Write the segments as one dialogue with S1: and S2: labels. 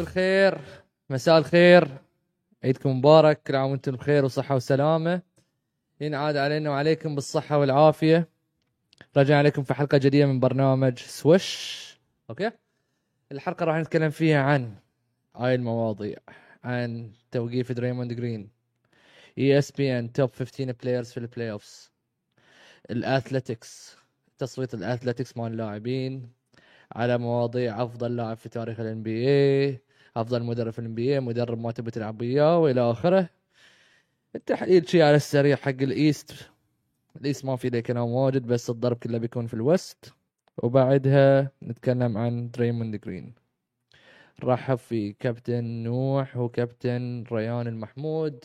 S1: الخير مساء الخير عيدكم مبارك كل عام وانتم بخير وصحة وسلامة ينعاد علينا وعليكم بالصحة والعافية راجعين عليكم في حلقة جديدة من برنامج سوش اوكي الحلقة راح نتكلم فيها عن هاي المواضيع عن توقيف دريموند جرين E اي اس بي ان توب 15 بلايرز في البلاي اوفز الاثلتكس تصويت الاثلتكس مال اللاعبين على مواضيع افضل لاعب في تاريخ الان بي اي افضل مدرب في الان بي اي مدرب ما تبي تلعب وياه والى اخره التحليل شي على السريع حق الايست الايست ما في ليه كلام واجد بس الضرب كله بيكون في الوست وبعدها نتكلم عن دريموند جرين رحب في كابتن نوح وكابتن ريان المحمود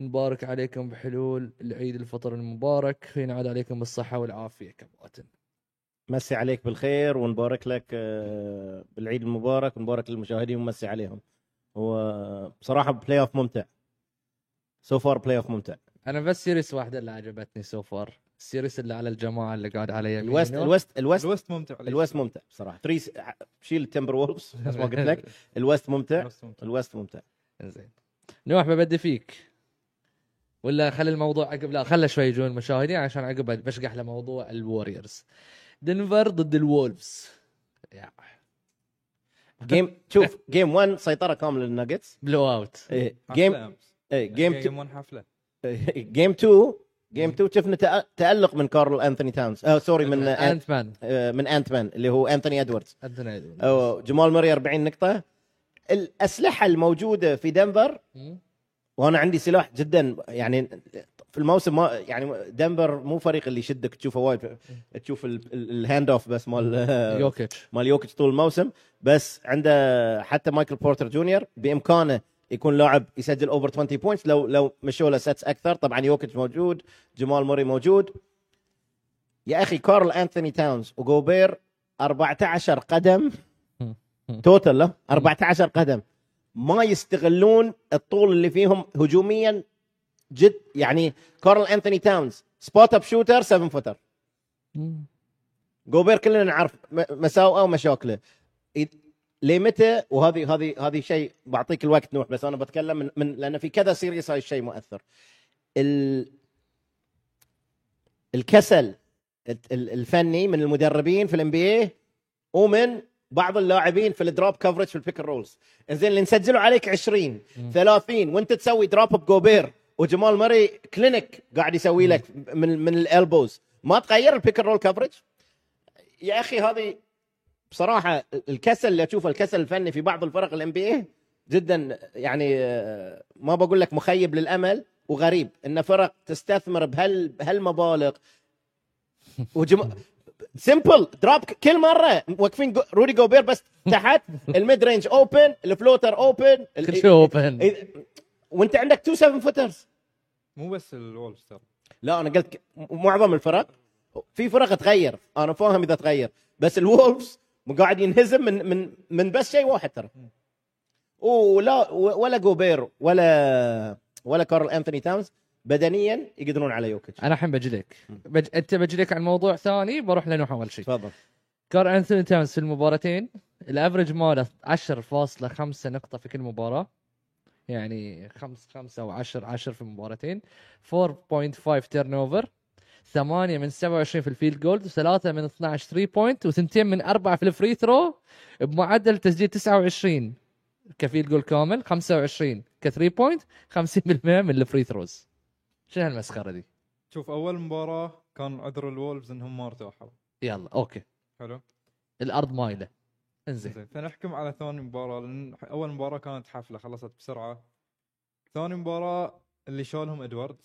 S1: نبارك عليكم بحلول العيد الفطر المبارك ينعاد عليكم بالصحة والعافية كباتن
S2: مسي عليك بالخير ونبارك لك آه، بالعيد المبارك ونبارك للمشاهدين ومسي عليهم هو بصراحه بلاي اوف ممتع سو فار بلاي اوف ممتع
S1: أنا بس سيريس واحدة اللي عجبتني سو فار السيريس اللي على الجماعة اللي قاعد على يميني
S2: الوست الوست الوست
S3: الوست ممتع ليش؟
S2: الوست ممتع بصراحه تريس شيل التمبر وولفز نفس ما قلت لك الوست ممتع
S3: الوست ممتع.
S2: الوست ممتع
S1: زين نوح ببدي فيك ولا خلي الموضوع عقب لا خله شوي يجون المشاهدين عشان عقب بشقح له موضوع الوريورز دنفر ضد الولفز يا
S2: جيم شوف جيم 1 سيطره كامله للناجتس
S1: بلو اوت
S2: إيه،
S3: حفلة
S2: جيم
S3: أمس. يعني
S2: إيه،
S3: جيم
S2: جيم 2
S3: 1 حفله
S2: جيم 2 جيم 2 شفنا تأ- تالق من كارل انثوني تاونز آه، سوري من آه،
S1: انت مان
S2: آه، من انت مان اللي هو انثوني ادواردز
S1: انتوني إدواردز.
S2: أو جمال ماري 40 نقطة الأسلحة الموجودة في دنفر
S1: مم.
S2: وأنا عندي سلاح جدا يعني في الموسم ما يعني دنفر مو فريق اللي يشدك تشوفه وايد تشوف ال- ال- الهاند اوف بس مال
S1: يوكيتش
S2: مال يوكيتش طول الموسم بس عنده حتى مايكل بورتر جونيور بإمكانه يكون لاعب يسجل اوفر 20 بوينتس لو لو مشوا له سيتس اكثر طبعا يوكيتش موجود جمال موري موجود يا اخي كارل انثوني تاونز وجوبير 14 قدم توتال له 14 قدم ما يستغلون الطول اللي فيهم هجوميا جد يعني كارل انثوني تاونز سبوت اب شوتر 7 فوتر
S1: مم.
S2: إيه- جوبير كلنا نعرف م- مساوئه ومشاكله إي- لمتى وهذه هذه هذه شيء بعطيك الوقت نوح بس انا بتكلم من, من لان في كذا سيريس هاي الشيء مؤثر ال الكسل الت- ال- الفني من المدربين في الام بي اي ومن بعض اللاعبين في الدروب كفرج في البيك رولز زين اللي نسجلوا عليك 20 30 وانت تسوي دروب بجوبير وجمال مري كلينك قاعد يسوي لك من من الالبوز ما تغير البيك رول كفرج يا اخي هذه بصراحه الكسل اللي اشوفه الكسل الفني في بعض الفرق الام بي اي جدا يعني آه، ما بقول لك مخيب للامل وغريب ان فرق تستثمر بهال بهالمبالغ وجم... سمبل دروب كل مره واقفين جو... رودي جوبير بس تحت الميد رينج اوبن الفلوتر اوبن
S1: كل شيء
S2: إيه-
S1: اوبن
S2: وانت عندك تو 7 فوترز
S3: مو بس الولفز ترى
S2: لا انا قلت ك- معظم الفرق في فرق تغير انا فاهم اذا تغير بس الولفز قاعد ينهزم من من من بس شيء واحد ترى ولا ولا جوبير ولا ولا كارل انثوني تاونز بدنيا يقدرون على يوكيتش
S1: انا الحين بجلك بج... انت بجلك عن موضوع ثاني بروح لنوح اول شيء
S2: تفضل
S1: كار انثوني تاونز في المباراتين الافرج ماله 10.5 نقطة في كل مباراة يعني 5 5 او 10 10 في المباراتين 4.5 تيرن اوفر 8 من 27 في الفيلد جولد 3 من 12 3 بوينت وثنتين من 4 في الفري ثرو بمعدل تسجيل 29 كفيلد جول كامل 25 ك 3 بوينت 50% من الفري ثروز شنو هالمسخرة دي؟
S3: شوف اول مباراه كان عذر الولفز انهم ما ارتاحوا
S1: يلا اوكي
S3: حلو
S1: الارض مايلة انزين
S3: زين فنحكم على ثاني مباراه لان اول مباراه كانت حفله خلصت بسرعه ثاني مباراه اللي شالهم ادوارد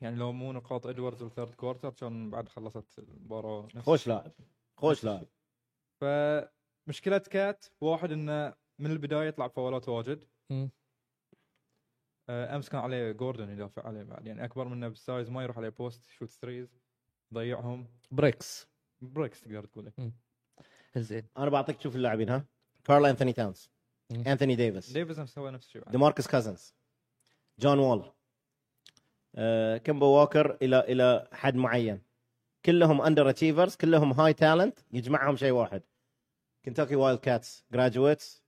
S3: يعني لو مو نقاط ادواردز بالثيرد كوارتر كان بعد خلصت المباراه نفس
S2: خوش لاعب خوش لاعب
S3: فمشكلة كات واحد انه من البداية يطلع فاولات واجد
S1: مم.
S3: آه، امس كان عليه جوردن يدافع عليه بعد يعني اكبر منه بالسايز ما يروح عليه بوست شوت ثريز يضيعهم
S1: بريكس
S3: بريكس تقدر تقول لك
S1: زين
S2: انا بعطيك تشوف اللاعبين ها كارل انثوني تاونز
S1: مم.
S2: انثوني ديفيس
S3: ديفيز هم سوى نفس الشيء بعد.
S2: ديماركس كازنز جون وول آه، كيمبا واكر الى الى حد معين كلهم اندر اتشيفرز كلهم هاي تالنت يجمعهم شيء واحد كنتاكي وايلد كاتس جراجويتس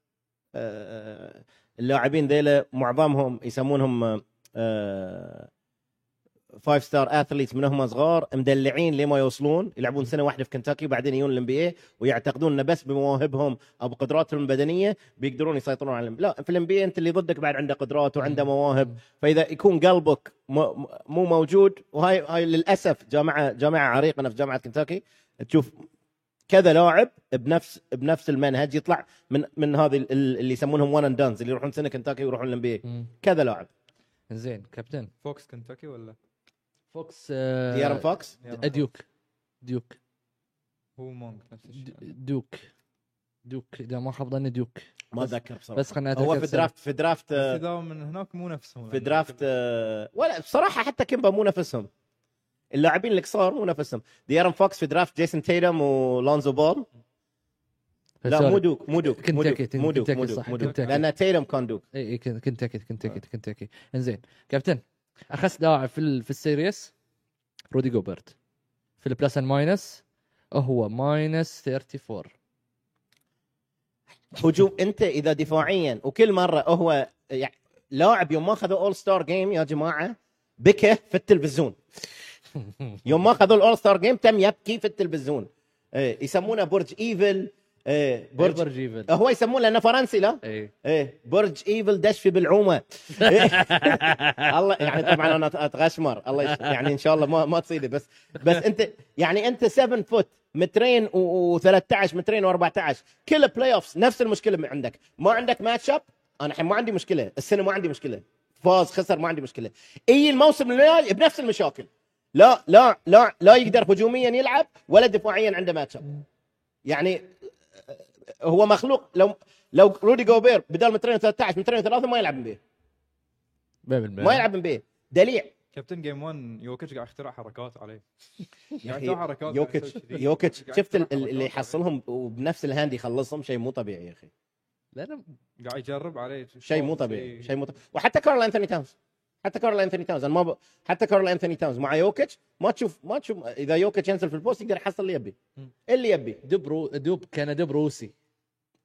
S2: آه، اللاعبين ذيلا معظمهم يسمونهم آه، فايف ستار اثليتس من هم صغار مدلعين لما يوصلون يلعبون سنه واحده في كنتاكي وبعدين يجون الام بي اي ويعتقدون انه بس بمواهبهم او بقدراتهم البدنيه بيقدرون يسيطرون على الم... لا في الام بي انت اللي ضدك بعد عنده قدرات وعنده مواهب فاذا يكون قلبك م- مو موجود وهاي هاي للاسف جامعه جامعه عريقه أنا في جامعه كنتاكي تشوف كذا لاعب بنفس بنفس المنهج يطلع من من هذه ال- ال- اللي يسمونهم وان اند دانز اللي يروحون سنه كنتاكي ويروحون الام بي
S1: مم.
S2: كذا لاعب
S1: زين كابتن
S3: فوكس كنتاكي ولا
S1: فوكس آه،
S2: ديارن فوكس
S3: يا رب.
S1: ديوك ديوك
S3: هو مونك نفس الشيء
S1: د- دوك دوك اذا ما خاب ظني دوك
S2: ما
S1: بس-
S2: اتذكر بصراحه
S1: بس خلنا
S2: هو في درافت في درافت
S3: بس اذا من هناك مو يعني نفسهم
S2: في درافت آه، ولا بصراحه حتى كيمبا مو نفسهم اللاعبين القصار مو نفسهم ديارن فوكس في درافت جيسون تيتم ولونزو بول لا مو دوك مو دوك مو دوك
S1: كنتاكي-
S2: مو دوك
S1: كنتاكي
S2: مو دوك
S1: صح،
S2: مو دوك
S1: كنتاكي.
S2: لان تيتم كان دوك
S1: اي اي كن- كنت اكيد كنت
S2: آه.
S1: اكيد كنت اكيد انزين كابتن اخس لاعب في ال- في السيريس رودي جوبرت في البلس اند ماينس هو ماينس 34
S2: هجوم انت اذا دفاعيا وكل مره هو يعني لاعب يوم ما اخذوا اول ستار جيم يا جماعه بكى في التلفزيون يوم ما اخذوا الاول ستار جيم تم يبكي في التلفزيون إيه، يسمونه برج ايفل إيه، برج
S1: برج ايفل
S2: هو يسمونه لانه فرنسي لا
S1: اي
S2: ايه برج ايفل دش في بالعومه الله يعني طبعا انا اتغشمر الله يش... يعني ان شاء الله ما ما تصيدي بس بس انت يعني انت 7 فوت مترين و13 مترين و14 كل بلاي اوفز نفس المشكله ما عندك ما عندك ماتش اب انا الحين ما عندي مشكله السنه ما عندي مشكله فاز خسر ما عندي مشكله اي الموسم الجاي بنفس المشاكل لا لا لا لا يقدر هجوميا يلعب ولا دفاعيا عنده ماتش اب يعني هو مخلوق لو لو رودي جوبير بدل مترين 13 مترين ثلاثه ما يلعب بيه ما يلعب بيه دليع
S3: كابتن جيم 1 يوكيتش قاعد يخترع حركات عليه
S2: يا
S3: قاعد
S2: أخي،
S3: يسوي حركات
S2: يوكيتش
S3: قاعد يسوي كذي.
S2: يوكيتش
S3: قاعد
S2: شفت ال-
S3: يخترع
S2: ال- اللي
S3: حركات عليه.
S2: يحصلهم وبنفس الهاند يخلصهم شيء مو طبيعي يا اخي
S1: لا
S3: قاعد يجرب عليه
S2: شيء مو طبيعي شيء مو طبيعي وحتى كارل انثوني تاونز حتى كارل انثوني تاونز انا ما ب... حتى كارل انثوني تاونز مع يوكيتش ما تشوف ما تشوف اذا يوكيتش ينزل في البوست يقدر يحصل اللي يبي
S3: مم.
S2: اللي يبي
S1: دب رو دب كان دب روسي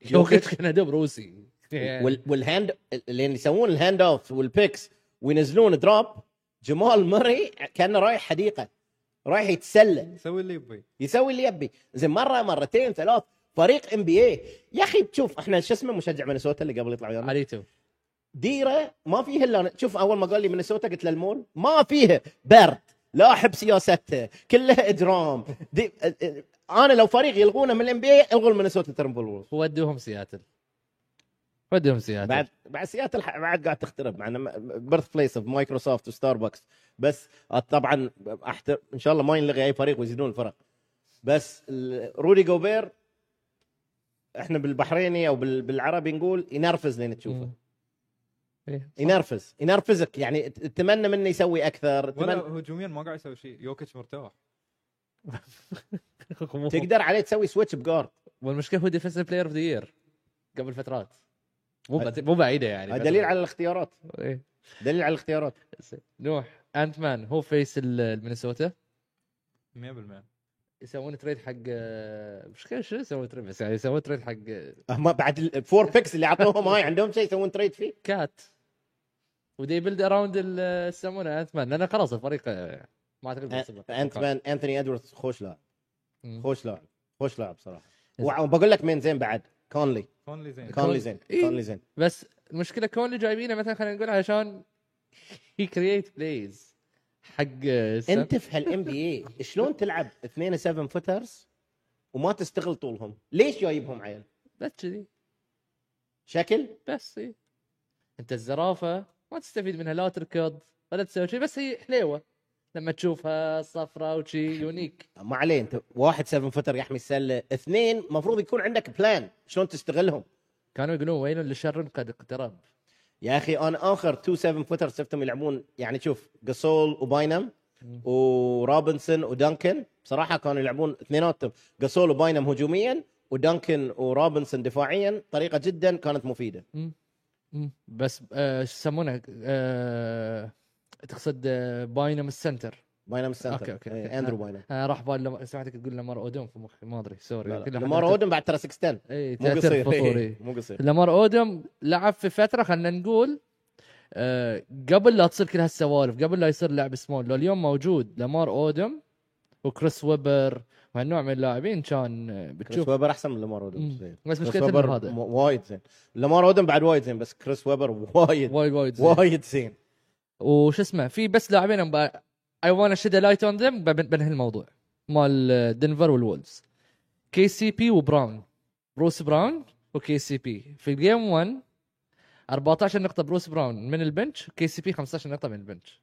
S2: يوكيتش.
S1: يوكيتش كان دب روسي
S2: وال... والهاند اللي يسوون الهاند اوف والبيكس وينزلون دروب جمال مري كانه رايح حديقه رايح يتسلى
S3: سوي اللي يبي
S2: يسوي اللي يبي زين مره مرتين ثلاث فريق ام بي اي يا اخي بتشوف احنا شو اسمه مشجع مينيسوتا اللي قبل يطلع ويانا
S1: عليته
S2: ديره ما فيها الا شوف اول ما قال لي مينيسوتا قلت له المول ما فيها برد لا احب سياسته كلها اجرام دي... اه- اه- انا لو فريق يلغونه من الام بي اي الغوا المينيسوتا ترمبل وولز
S1: ودوهم سياتل ودوهم سياتل
S2: بعد بعد سياتل ح- بعد قاعد تخترب مع بيرث بليس اوف مايكروسوفت وستاربكس بس آه، طبعا أحتر... ان شاء الله ما ينلغي اي فريق ويزيدون الفرق بس ال- رودي جوبير احنا بالبحريني او بال... بالعربي نقول ينرفز لين تشوفه
S1: مم. إيه.
S2: ينرفز ينرفزك يعني ت- تتمنى منه يسوي اكثر
S3: ولا
S2: تتمنى...
S3: هجوميا ما قاعد يسوي شيء يوكيتش مرتاح
S2: تقدر عليه تسوي سويتش بجارد
S1: والمشكله هو ديفنسيف بلاير اوف ذا يير قبل فترات مو بعد- مو بعيده يعني
S2: هذا آه، دليل على الاختيارات
S1: إيه.
S2: دليل على الاختيارات
S1: نوح انت مان هو فيس المينيسوتا
S3: 100%
S1: يسوون تريد حق آه، مش كده شو يسوون تريد بس يعني يسوون تريد حق آه،
S2: هم بعد الفور بيكس اللي عطوهم هاي عندهم شيء يسوون تريد فيه
S1: كات ودي بيلد اراوند آه، يسمونه انت مان لان خلاص الفريق آه، ما اعتقد بيصير.
S2: انت مان انثوني ادوردز خوش لاعب
S1: مم.
S2: خوش لاعب خوش لاعب صراحه
S1: إنزين.
S2: وبقول لك مين زين بعد كونلي
S3: كونلي زين
S2: كونلي زين
S1: إيه.
S2: كونلي زين
S1: بس المشكله كون اللي جايبينه مثلا خلينا نقول علشان هي كرييت بلايز حق آه، سن-
S2: انت في هالام بي اي شلون تلعب اثنين 7 فوترز وما تستغل طولهم ليش جايبهم عيل
S1: بس كذي
S2: شكل
S1: بس إيه. انت الزرافه ما تستفيد منها لا تركض ولا تسوي شيء بس هي حليوه لما تشوفها صفراء وشي يونيك
S2: ما عليه انت واحد 7 فوتر يحمي السله اثنين المفروض يكون عندك بلان شلون تستغلهم
S1: كانوا يقولون ويل للشر قد اقترب
S2: يا اخي انا اخر 2 7 فوتر شفتهم يلعبون يعني شوف جاسول وباينم ورابنسون ودانكن بصراحه كانوا يلعبون اثنيناتهم جاسول وباينم هجوميا ودانكن ورابنسون دفاعيا طريقه جدا كانت مفيده
S1: مم. بس آه، شو يسمونه آه، تقصد آه، باينم السنتر
S2: باينام السنتر
S1: أوكي، أوكي،
S2: إيه،
S1: أوكي.
S2: اندرو باينام
S1: انا آه، راح بالي لما- سمعتك تقول لمار اودم في مخي ما ادري سوري كل أحد
S2: لمارو اودن بعد ترى 6 10
S1: اي
S2: مو
S1: تاثير
S2: قصير
S1: فطوري
S2: إيه، مو قصير
S1: لامار اودم لعب في فتره خلينا نقول آه، قبل لا تصير كل هالسوالف قبل لا يصير لعب سمول لو اليوم موجود لامار اودم وكريس ويبر وهالنوع من اللاعبين كان آه،
S2: كريس
S1: بتشوف
S2: ويبر احسن من لمار اودن
S1: مم.
S2: زين.
S1: بس
S2: كريس
S1: مشكلته
S2: ويبر
S1: إنه هذا.
S2: م- وايد زين لمار اودن بعد وايد زين بس كريس ويبر وايد
S1: وايد وايد زين.
S2: وايد زين
S1: وش اسمه في بس لاعبين اي وانا شد لايت اون ذم بنهي الموضوع مال دنفر والولفز كي سي بي وبراون بروس براون وكي سي بي في الجيم 1 14 نقطة بروس براون من البنش كي سي بي 15 نقطة من البنش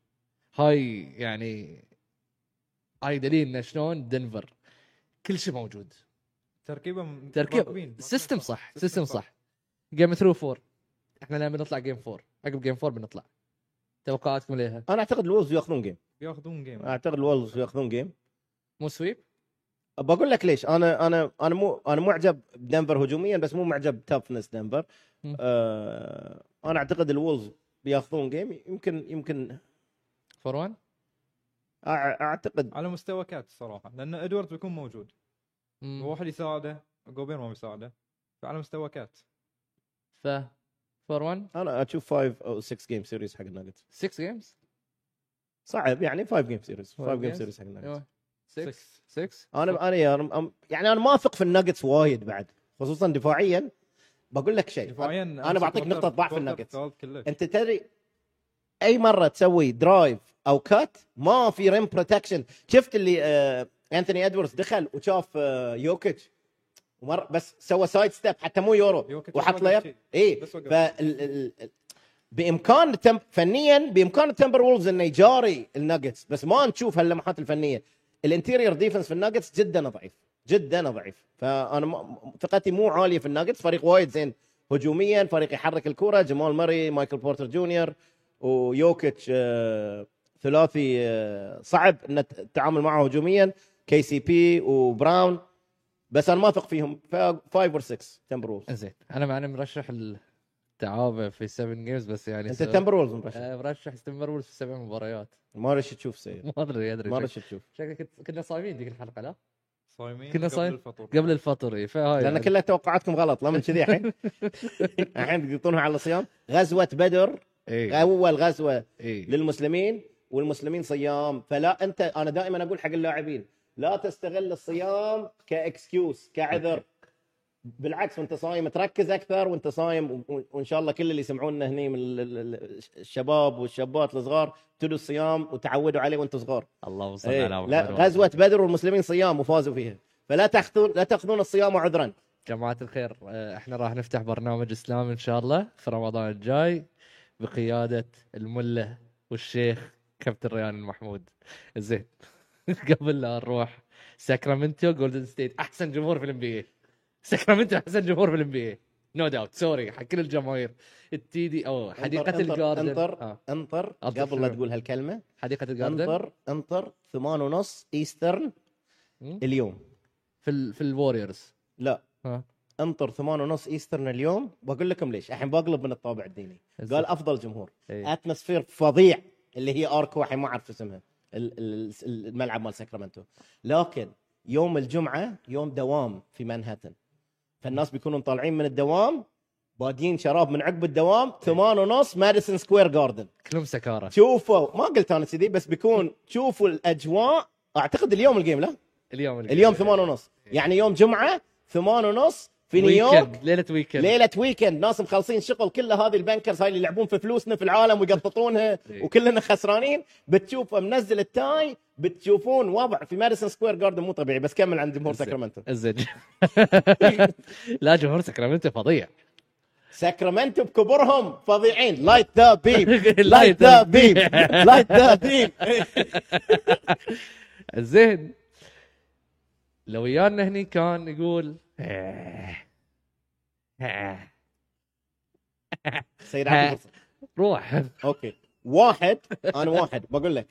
S1: هاي يعني هاي دليل انه شلون دنفر كل شيء موجود
S3: تركيبه م-
S1: تركيب
S3: راكبين.
S1: سيستم صح
S3: system
S1: سيستم صح جيم 3 4 احنا لما بنطلع جيم 4 عقب جيم 4 بنطلع توقعاتكم ليها
S2: انا اعتقد الولز ياخذون جيم
S3: ياخذون جيم
S2: اعتقد الولز ياخذون جيم
S1: مو سويب
S2: بقول لك ليش انا انا انا مو انا معجب بدنفر هجوميا بس مو معجب بتفنس دنفر
S1: مم.
S2: آه انا اعتقد الولز بياخذون جيم يمكن يمكن
S1: فور 1
S2: أع- اعتقد
S3: على مستوى كات صراحه لان ادوارد بيكون موجود واحد يساعده جوبير ما بيساعده فعلى مستوى كات
S1: ف فور 1
S2: انا اشوف 5 او 6 جيم سيريز حق الناجتس
S1: 6 جيمز
S2: صعب يعني 5 جيم سيريز 5
S1: Five
S2: جيم
S1: games؟ أيوة.
S2: سيريز حق الناجتس
S1: 6
S3: Six.
S1: 6
S2: انا انا يا رم- أم- يعني انا ما اثق في الناجتس وايد بعد خصوصا دفاعيا بقول لك شيء
S3: دفاعيا
S2: أنا بعطيك
S3: quarter-
S2: نقطة ضعف
S3: quarter
S2: الناجتس.
S3: الثالث كله
S2: انت تدري اي مره تسوي درايف او كات ما في ريم بروتكشن شفت اللي آه انثوني ادوردز دخل وشاف آه يوكيتش ومر بس سوى سايد ستيب حتى مو يورو
S3: يوكيتش
S2: وحط
S3: وقف
S2: لاير
S3: شيء.
S2: اي
S3: بس وقف.
S2: فال بامكان التم... فنيا بامكان التمبر وولفز انه يجاري الناجتس بس ما نشوف هاللمحات الفنيه الانتيريور ديفنس في الناجتس جدا ضعيف جدا ضعيف فانا ما- ثقتي مو عاليه في الناجتس فريق وايد زين هجوميا فريق يحرك الكره جمال ماري مايكل بورتر جونيور ويوكيتش آه، ثلاثي آه، صعب ان الت- التعامل معه هجوميا كي سي بي وبراون بس انا ما اثق فيهم ف 5 اور 6 تمبر وولز
S1: آه، زين انا مع اني مرشح التعاوبه في 7 جيمز بس يعني
S2: انت
S1: سو-
S2: تمبر وولز مرشح
S1: آه، مرشح تمبر وولز في سبع مباريات
S2: ما رش تشوف سيء
S1: ما ادري ادري
S2: ما
S1: شك-
S2: رش تشوف
S1: شكلك كنت- كنا صايمين ذيك الحلقه لا
S3: صايمين
S1: كنا
S3: قبل
S1: صايم-
S3: الفطور
S1: قبل الفطر إي، فهاي
S2: لان
S1: يعني-
S2: كلها توقعاتكم غلط لا من كذي الحين الحين تقطونها على الصيام غزوه بدر
S1: اي
S2: اول غزوه
S1: اي
S2: للمسلمين والمسلمين صيام فلا انت انا دائما اقول حق اللاعبين لا تستغل الصيام كاكسكيوز كعذر بالعكس وانت صايم تركز اكثر وانت صايم و- و- وان شاء الله كل اللي يسمعونا هني من ال- ال- ال- الشباب والشابات الصغار ابتدوا الصيام وتعودوا عليه وانتم صغار
S1: اللهم صل
S2: إيه،
S1: على
S2: لا
S1: محمد
S2: غزوه بدر والمسلمين صيام وفازوا فيها فلا تاخذون لا تاخذون الصيام عذرا
S1: جماعة الخير آه، احنا راح نفتح برنامج اسلامي ان شاء الله في رمضان الجاي بقيادة الملة والشيخ كابتن ريان المحمود زين قبل لا نروح ساكرامنتو جولدن ستيت احسن جمهور في الام بي ساكرامنتو احسن جمهور في الام بي نو داوت سوري حق كل الجماهير التيدي او حديقة
S2: انطر-
S1: الجاردن
S2: انطر
S1: آه،
S2: انطر
S1: أبدأ
S2: قبل لا
S1: شنو؟
S2: تقول هالكلمه
S1: حديقة الجاردن
S2: انطر انطر ثمان ونص ايسترن
S1: مم.
S2: اليوم
S1: في ال في آه، الوريورز
S2: لا
S1: ها.
S2: انطر ثمان ونص ايسترن اليوم بقول لكم ليش الحين بقلب من الطابع الديني قال افضل جمهور
S1: إيه.
S2: اتموسفير فظيع اللي هي اركو الحين ما اعرف اسمها ال- ال- ال- الملعب مال ساكرامنتو لكن يوم الجمعه يوم دوام في منهاتن فالناس بيكونوا طالعين من الدوام بادين شراب من عقب الدوام ثمان ونص ماديسون سكوير جاردن
S1: كلهم سكارة
S2: شوفوا ما قلت انا كذي بس بيكون شوفوا الاجواء اعتقد اليوم الجيم لا
S1: اليوم
S2: اليوم ثمان ونص يعني يوم جمعه ثمان ونص في نيويورك
S1: ويكند، ليلة ويكند
S2: ليله ويكند ناس مخلصين شغل كل هذه البنكرز هاي اللي يلعبون في فلوسنا في العالم ويقططونها
S1: إيه.
S2: وكلنا خسرانين بتشوفه منزل التاي بتشوفون وضع في ماديسون سكوير جاردن مو طبيعي بس كمل عن جمهور
S1: زين.
S2: ساكرامنتو
S1: زين لا جمهور ساكرامنتو فظيع
S2: ساكرامنتو بكبرهم فظيعين لايت ذا بيب لايت
S1: Light
S2: ذا
S1: the
S2: بيب لايت ذا بيب
S1: زين لو ويانا هني كان يقول
S2: سيد عبد البسط.
S1: روح
S2: اوكي واحد انا واحد بقول لك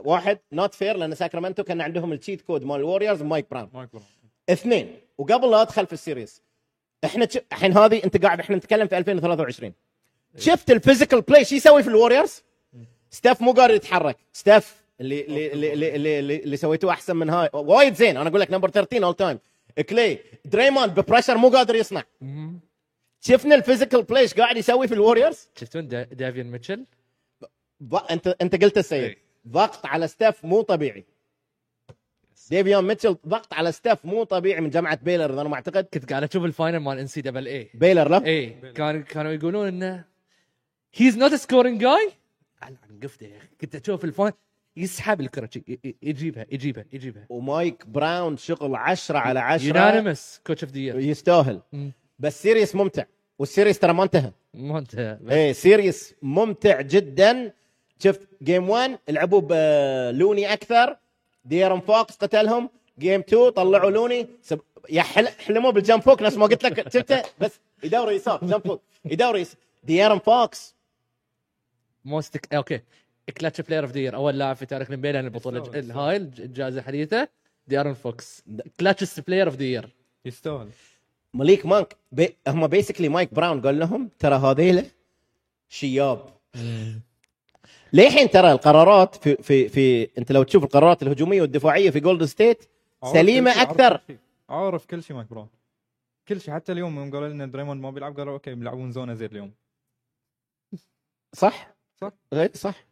S2: واحد نوت فير لان ساكرامنتو كان عندهم التشيت كود مال الوريورز مايك براون
S3: مايك براون
S2: اثنين وقبل لا ادخل في السيريس احنا تش- الحين هذه انت قاعد احنا نتكلم في 2023 شفت الفيزيكال بلاي شو يسوي في الوريورز؟ ستاف مو قادر يتحرك ستاف اللي اللي اللي اللي, اللي, اللي, اللي سويتوه احسن من هاي وايد زين انا اقول لك نمبر 13 اول تايم كلي دريموند ببريشر مو قادر يصنع
S1: مهم.
S2: شفنا الفيزيكال بلاي ايش قاعد يسوي في الوريورز
S1: شفتون دا- دافيان ميتشل
S2: ب... انت انت قلت السيد
S1: إي.
S2: ضغط على ستاف مو طبيعي ديفيون ميتشل ضغط على ستاف مو طبيعي من جامعه بيلر انا ما اعتقد
S1: كنت قاعد اشوف الفاينل مال ان سي دبل اي
S2: بيلر لا
S1: اي إيه، كان كانوا يقولون انه هيز نوت سكورينج جاي انا قفته يا اخي كنت اشوف الفاينل يسحب الكره شي، ي- ي- يجيبها يجيبها يجيبها
S2: ومايك براون شغل 10 على 10
S1: يونانيمس كوتش اوف ذا يير
S2: يستاهل
S1: مم.
S2: بس سيريس ممتع والسيريس ترى ما انتهى
S1: مو انت
S2: ايه سيريس ممتع جدا شفت جيم 1 لعبوا بلوني اكثر ديرن فوكس قتلهم جيم 2 طلعوا لوني سب... يا حل... حلموا بالجمب فوك نفس ما قلت لك شفته بس يدور يسار جمب فوك يدور يسار ديرن فوكس
S1: موست اوكي كلاتش بلاير اوف ذا يير اول لاعب في تاريخ البيل عن البطوله الج- الهاي الج- الجائزه الحديثه ديارن فوكس كلاتش بلاير اوف ذا يير
S3: يستاهل
S2: مليك مانك بي... هم بيسكلي مايك براون قال لهم ترى هذيله شياب للحين ترى القرارات في في في انت لو تشوف القرارات الهجوميه والدفاعيه في جولد ستيت
S3: عارف
S2: سليمه
S3: كل شيء، عارف
S2: اكثر
S3: كل شيء. عارف كل شيء مايك براون كل شيء حتى اليوم يوم قالوا لنا دريموند ما بيلعب قالوا اوكي بيلعبون زونه زين اليوم
S2: صح؟
S3: صح.
S2: غير صح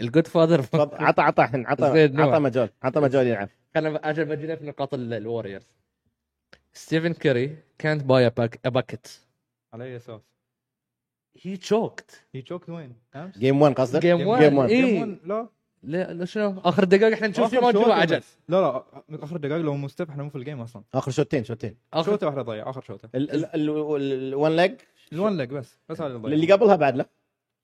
S1: الجود فاذر
S2: طب عطى عطى الحين عطى
S1: زين، نوع.
S2: عطى مجال عطى مجال يلعب
S1: خلنا عشان بجينا في نقاط ال- الوريورز ستيفن كاري كانت باي ا باكيت
S3: على اي اساس؟
S1: هي تشوكت
S3: هي تشوكت وين؟ امس؟
S2: جيم 1 قصدك؟
S1: جيم 1
S3: Game
S2: one.
S3: Game
S1: اي
S3: one، لا
S1: لا لا شنو اخر دقائق احنا نشوف
S3: آخر
S1: شو ما
S3: شوطة
S1: نشوف عجل
S3: بس. لا لا من اخر دقائق لو مستبح احنا مو في الجيم اصلا
S2: اخر شوتين شوتين
S1: اخر
S3: شوطه واحده ضيع اخر شوطه
S1: إيه.
S2: الون ليج
S3: الون لك بس بس هذا اللي ضيع
S2: اللي قبلها بعد لا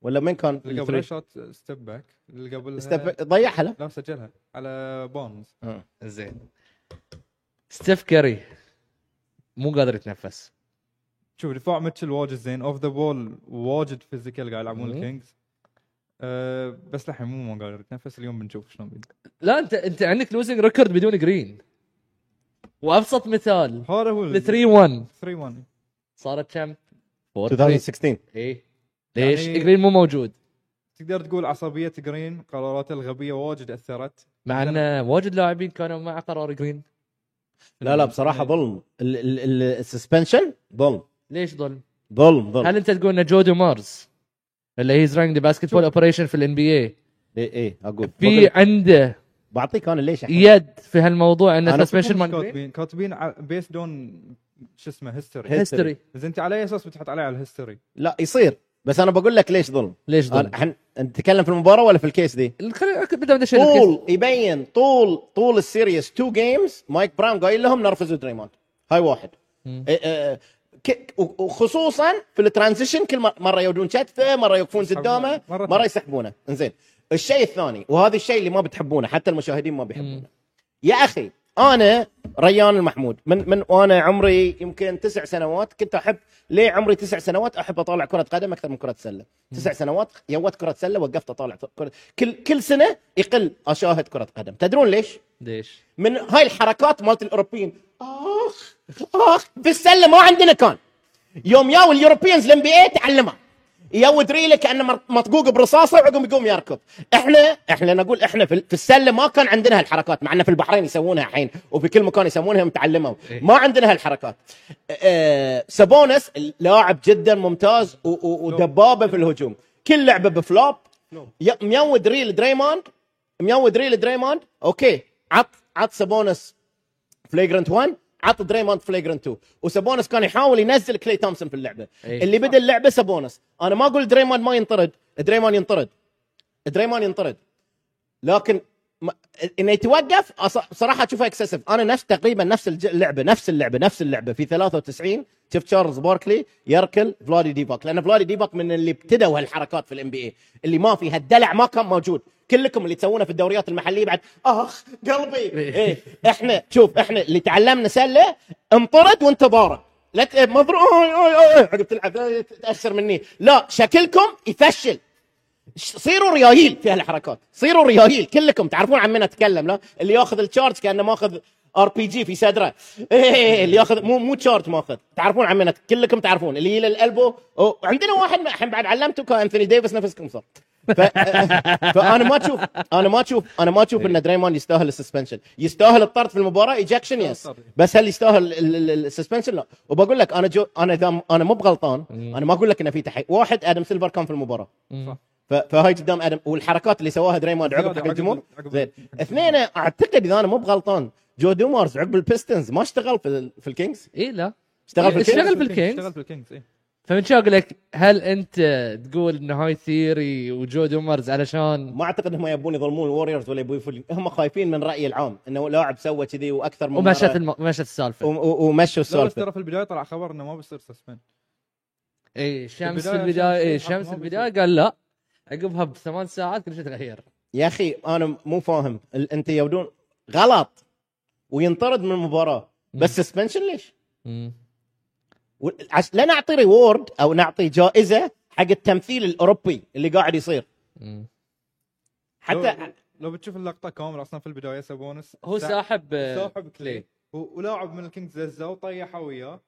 S2: ولا من كان؟
S3: اللي قبل شوت ستيب باك اللي قبل
S2: Step- ضيعها لا
S3: لا سجلها على بونز
S1: آه. زين ستيف كاري مو قادر يتنفس
S3: شوف دفاع ميتشل واجد زين اوف ذا بول واجد فيزيكال قاعد يلعبون
S1: مم.
S3: الكينجز أه بس لحين مو ما قادر يتنفس اليوم بنشوف شلون بيد
S1: لا انت انت عندك لوزنج ريكورد بدون جرين وابسط مثال
S3: هذا هو
S1: ال 3 1
S3: 3 1
S1: صارت كم؟ 4
S2: 2016
S1: اي ليش؟
S3: يعني-
S1: جرين مو موجود
S3: تقدر تقول عصبيه جرين قراراته الغبيه واجد اثرت
S1: مع ان واجد لاعبين كانوا مع قرار جرين
S2: لا لا بصراحه ظلم السسبنشن ظلم
S1: ليش ظلم؟
S2: ظلم ظلم
S1: هل انت تقول ان جودو مارز اللي هيز رانك ذا باسكت بول اوبريشن في الان بي اي
S2: اي اي اقول
S1: في عنده
S2: بعطيك انا ليش أحمد.
S1: يد في هالموضوع ان
S2: أنا
S1: السسبنشن
S3: مش
S1: مال
S3: كاتبين كاتبين بيس دون شو اسمه هيستوري
S2: هيستوري.
S1: هيستوري
S3: اذا انت على اي اساس بتحط عليه على الهيستوري
S2: لا يصير بس انا بقول لك ليش ظلم
S1: ليش ظلم؟
S2: أنا- احنا نتكلم في المباراه ولا في الكيس دي؟
S1: خلينا بدنا بدنا شيء
S2: طول يبين طول طول السيريس تو جيمز مايك براون قايل لهم نرفزوا دريموند هاي واحد
S1: مم.
S2: إيه، إيه، ك- و- وخصوصا في الترانزيشن كل مر- مره يودون كتفه مره يوقفون
S3: يسحبونه.
S2: قدامه
S3: مرة
S2: مره
S3: ثانية.
S2: يسحبونه انزين الشيء الثاني وهذا الشيء اللي ما بتحبونه حتى المشاهدين ما بيحبونه يا اخي انا ريان المحمود من من وانا عمري يمكن تسع سنوات كنت احب ليه عمري تسع سنوات احب اطالع كره قدم اكثر من كره سله تسع سنوات يوت كره سله وقفت اطالع كرة كل كل سنه يقل اشاهد كره قدم تدرون ليش
S1: ليش؟
S2: من هاي الحركات مالت الاوروبيين اخ اخ في السله ما عندنا كان يوم ياو اليوروبيانز الام بي اي تعلمها ياو دريله كانه مر- مطقوق برصاصه وعقب يقوم يركض احنا احنا نقول احنا في في السله ما كان عندنا هالحركات مع ان في البحرين يسوونها الحين وفي كل مكان يسوونها متعلمه ما عندنا هالحركات أه سابونس لاعب جدا ممتاز و- و- ودبابه في الهجوم كل لعبه بفلوب ي- ميود ريل دريموند ميود ريل دريموند اوكي عط عط سابونس فليجرنت 1 عط دريموند فليجرنت 2 وسابونس كان يحاول ينزل كلي تومسون في اللعبه
S1: إيه.
S2: اللي بدا اللعبه سابونس انا ما اقول دريموند ما ينطرد دريموند ينطرد دريموند ينطرد لكن ما- انه يتوقف أص- بصراحه اشوفها اكسسيف انا نفس تقريبا نفس الج- اللعبه نفس اللعبه نفس اللعبه في 93 شفت تشارلز باركلي يركل فلادي ديباك لان فلادي ديباك من اللي ابتدوا هالحركات في الام بي اي اللي ما في هالدلع ما كان موجود كلكم اللي تسوونه في الدوريات المحليه بعد اخ قلبي إيه. احنا شوف احنا اللي تعلمنا سله انطرد وانت ضارب لا ت- مضروب أوي، أوي، أوي، عقب تلعب لا تاثر مني لا شكلكم يفشل ش- صيروا ريايل في هالحركات صيروا ريايل كلكم تعرفون عن من اتكلم لا اللي ياخذ التشارج كانه ماخذ ار بي جي في صدره إيه اللي ياخذ مو مو تشارج ماخذ تعرفون عن من أت- كلكم تعرفون اللي يجي للالبو وعندنا واحد ما- الحين بعد علمته كان انثوني ديفيس نفسكم صار ف... فانا ما اشوف انا ما اشوف انا ما اشوف ان دريمان يستاهل السسبنشن يستاهل الطرد في المباراه ايجكشن يس بس هل يستاهل السسبنشن لا وبقول لك انا جو انا اذا انا مو بغلطان
S1: مم.
S2: انا ما اقول لك انه في تحقيق واحد ادم سيلفر كان في المباراه
S1: مم.
S2: ف- فهاي قدام ادم والحركات اللي سواها دريمان عقب
S3: زيادة
S2: حق الجمهور
S3: عقب-
S2: زين
S3: عقب-
S2: اثنين اعتقد اذا انا مو بغلطان جو دومارز عقب البيستنز ما اشتغل في, في الكينجز
S1: اي إيه، لا
S2: اشتغل في
S1: اشتغل
S2: الكينجز
S1: في الكينجز.
S3: إيه، اشتغل في الكينجز إيه. اي
S1: فمن شو اقول لك هل انت تقول ان هاي ثيري وجو دومرز علشان
S2: ما اعتقد انهم يبون يظلمون الوريورز ولا يبون يفل... هم خايفين من راي العام انه لاعب سوى كذي واكثر من
S1: ومشت
S2: مرة-
S1: الم... مشت السالفه
S2: وم- و- ومشوا
S3: لا بس
S2: السالفه
S3: ترى في البدايه طلع خبر انه ما بيصير سسبند
S1: اي إيه، شمس في
S3: البداية
S1: البدايه
S3: شمس
S1: اي
S3: الحق
S1: شمس
S3: ما
S1: في البدايه
S3: بيصير.
S1: قال لا عقبها بثمان ساعات كل شيء تغير
S2: يا اخي انا مو فاهم ال- انت يبدون غلط وينطرد من المباراه بس سسبنشن ليش؟
S1: مم.
S2: و- عش... لا نعطي ريورد او نعطي جائزه حق التمثيل الاوروبي اللي قاعد يصير
S1: مم.
S2: حتى
S3: لو, لو بتشوف اللقطه كامله اصلا في البدايه سبونس
S1: هو
S3: سا-
S1: ساحب آه،
S3: ساحب
S1: كلي.
S3: كلي آه، إيه. و- ولاعب من الكينجز دزه وطيحه وياه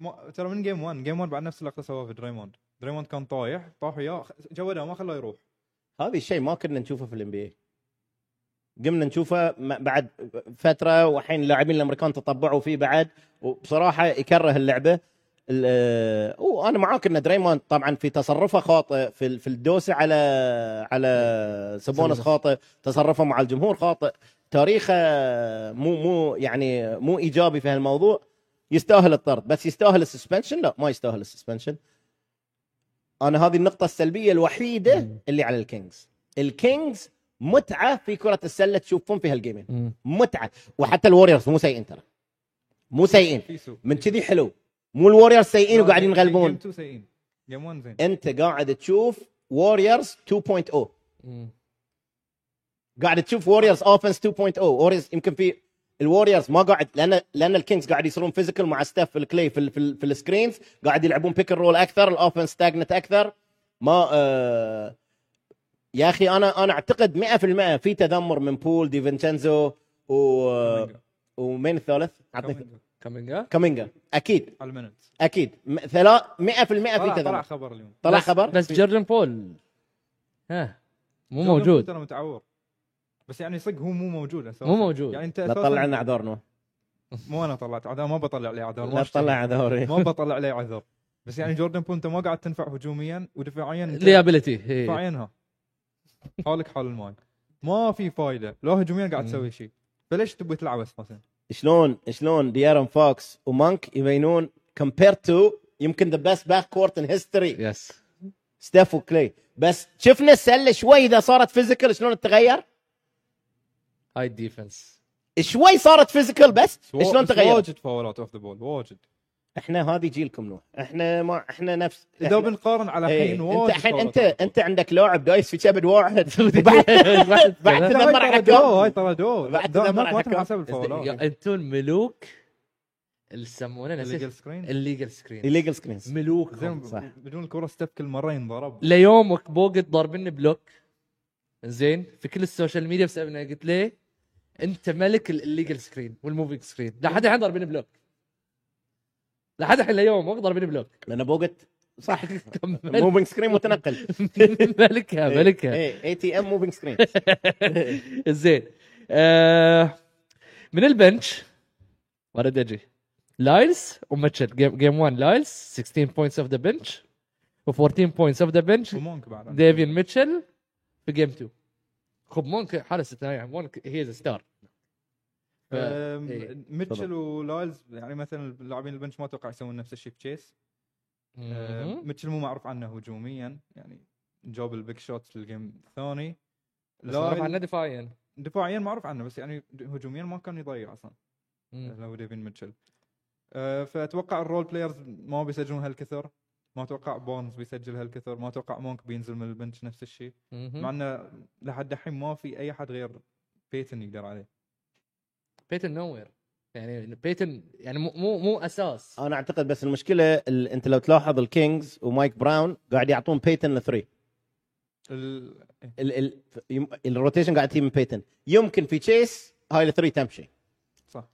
S3: ما- ترى من جيم 1 جيم 1 بعد نفس اللقطه سواها في دريموند دريموند كان طايح طاح وياه خ- جوده ما خلاه يروح
S2: هذا الشيء ما كنا نشوفه في الام بي اي قمنا نشوفه م- بعد فتره والحين اللاعبين الامريكان تطبعوا فيه بعد وبصراحه يكره اللعبه ال- آه، وانا معاك ان دريموند طبعا في تصرفه خاطئ في ال- في الدوسه على على سبونس
S1: سبونس.
S2: خاطئ تصرفه مع الجمهور خاطئ تاريخه مو مو يعني مو ايجابي في هالموضوع يستاهل الطرد بس يستاهل السسبنشن لا ما يستاهل السسبنشن انا هذه النقطه السلبيه الوحيده
S1: مم.
S2: اللي على الكينجز الكينجز متعه في كره السله تشوفون في هالجيمين
S1: مم.
S2: متعه وحتى الوريورز مو سيئين ترى مو سيئين
S3: في سوء
S2: من كذي حلو مو الوريورز سيئين
S3: لا،
S2: وقاعدين
S3: جيم-
S2: يغلبون
S3: جيم 2 سيئين جيم 1 زين
S2: انت قاعد تشوف ووريرز 2.0
S1: مم.
S2: قاعد تشوف ووريرز اوفنس 2.0 ووريرز يمكن في الوريرز ما قاعد لان لان الكينجز قاعد يصيرون فيزيكال مع ستاف الكلي في ال- في, ال- في السكرينز قاعد يلعبون بيك رول اكثر الاوفنس ستاجنت اكثر ما آه يا اخي انا انا اعتقد 100% في تذمر من بول دي فينcenzo و
S3: كامينجا.
S2: ومين الثالث؟ عطني
S3: كامينجا.
S1: كامينج اب
S2: كامينجا اكيد
S3: على المنت
S2: اكيد م- ثلا- 100% في
S3: طلع, طلع
S2: تذمر
S3: خبر اليوم
S2: طلع
S1: بس-
S2: خبر
S1: بس جيردن بول ها مو
S3: جوردن
S1: موجود
S3: ترى متعور بس يعني صدق هو مو موجود اساسا
S1: مو موجود.
S3: يعني انت
S2: لا
S3: أساساً-
S2: تطلع لنا اعذارنا
S3: مو انا طلعت عذر ما بطلع لي عذر ما
S2: لا
S3: أشتهي.
S2: تطلع اعذاري
S3: ما بطلع لي عذر بس يعني جوردن بول انت ما قاعد تنفع هجوميا ودفاعيا أنت-
S1: ليابيلتي
S3: دفاعينها حالك حال الماي ما في فايده لو هجوميا قاعد
S1: مم.
S3: تسوي شيء فليش تبي تلعب اساسا؟
S2: شلون شلون ديارن فوكس ومانك يبينون كومبير تو يمكن ذا بيست باك كورت ان هيستوري
S1: يس
S2: ستيف وكلي بس شفنا السله شوي اذا صارت فيزيكال شلون تتغير
S1: هاي الديفنس
S2: شوي صارت فيزيكال بس شلون تغير
S3: واجد فاولات اوف ذا بول واجد
S2: احنا هذه جيلكم نوح احنا ما احنا نفس
S3: اذا
S2: إحنا-
S3: بنقارن على
S2: إيه،
S3: حين
S2: انت
S3: واجد
S2: الحين انت
S3: فاولات off the ball.
S2: انت عندك لاعب دايس في كبد واحد وبعد- بعد
S3: هاي
S2: تذمر على Oh،
S3: ترى
S2: حكام.
S3: دو، هاي ترى دو
S2: بعد
S3: دو،
S2: تذمر
S3: ما-
S2: على
S3: ما
S2: حكام.
S3: تنحسب الفاولات
S1: يا انتون ملوك اللي يسمونه
S3: الليجل
S1: نسيت
S3: سكرين
S1: الليجل سكرين
S2: الليجل سكرينز
S1: ملوك
S3: زين
S2: صح.
S3: بدون الكره ستيف كل مره ينضرب
S1: ليومك بوقت ضاربني بلوك زين في كل السوشيال ميديا بسبب إنه قلت ليه انت ملك الليجل سكرين والموفينج سكرين لحد الحين ضاربني بلوك لحد الحين ليومك ضاربني بلوك
S2: لان بوقت صح
S1: كمل.
S2: موفينج سكرين متنقل
S1: ملكها
S2: إيه،
S1: ملكها
S2: اي تي ام موفينج سكرين
S1: زين آه من البنش ورد اجي لايلز وماتشت جيم, جيم 1 لايلز 16 بوينتس اوف ذا بنش و14 بوينتس اوف ذا بنش
S3: ومونك بعد
S1: ديفين ميتشل في جيم 2 خب مونك حاله استثنائيه مونك هي از ستار
S2: آه،
S3: أم،
S1: إيه.
S3: ميتشل ولايلز يعني مثلا اللاعبين البنش ما اتوقع يسوون نفس الشيء بتشيس
S2: آه،
S3: أم، ميتشل آه، مو معروف عنه هجوميا يعني جاب البيك شوت في الجيم الثاني
S1: لا
S3: لايل-
S1: عنه دفاعيا
S3: دفاعيا معروف عنه بس يعني د- هجوميا ما كان يضيع اصلا
S1: مم.
S3: لو ديفين ميتشل أه، فاتوقع الرول بلايرز ما بيسجلون هالكثر ما اتوقع بونز بيسجل هالكثر ما اتوقع مونك بينزل من البنش نفس الشيء
S1: مم.
S3: مع انه لحد الحين ما في اي احد غير بيتن يقدر عليه
S1: بيتن نوير يعني بيتن يعني مو مو مو اساس
S2: انا اعتقد بس المشكله ال... انت لو تلاحظ الكينجز ومايك براون قاعد يعطون بيتن الثري
S3: ال... إيه.
S2: ال... ال... يم- الروتيشن قاعد تجي من بيتن يمكن في تشيس هاي الثري تمشي
S3: صح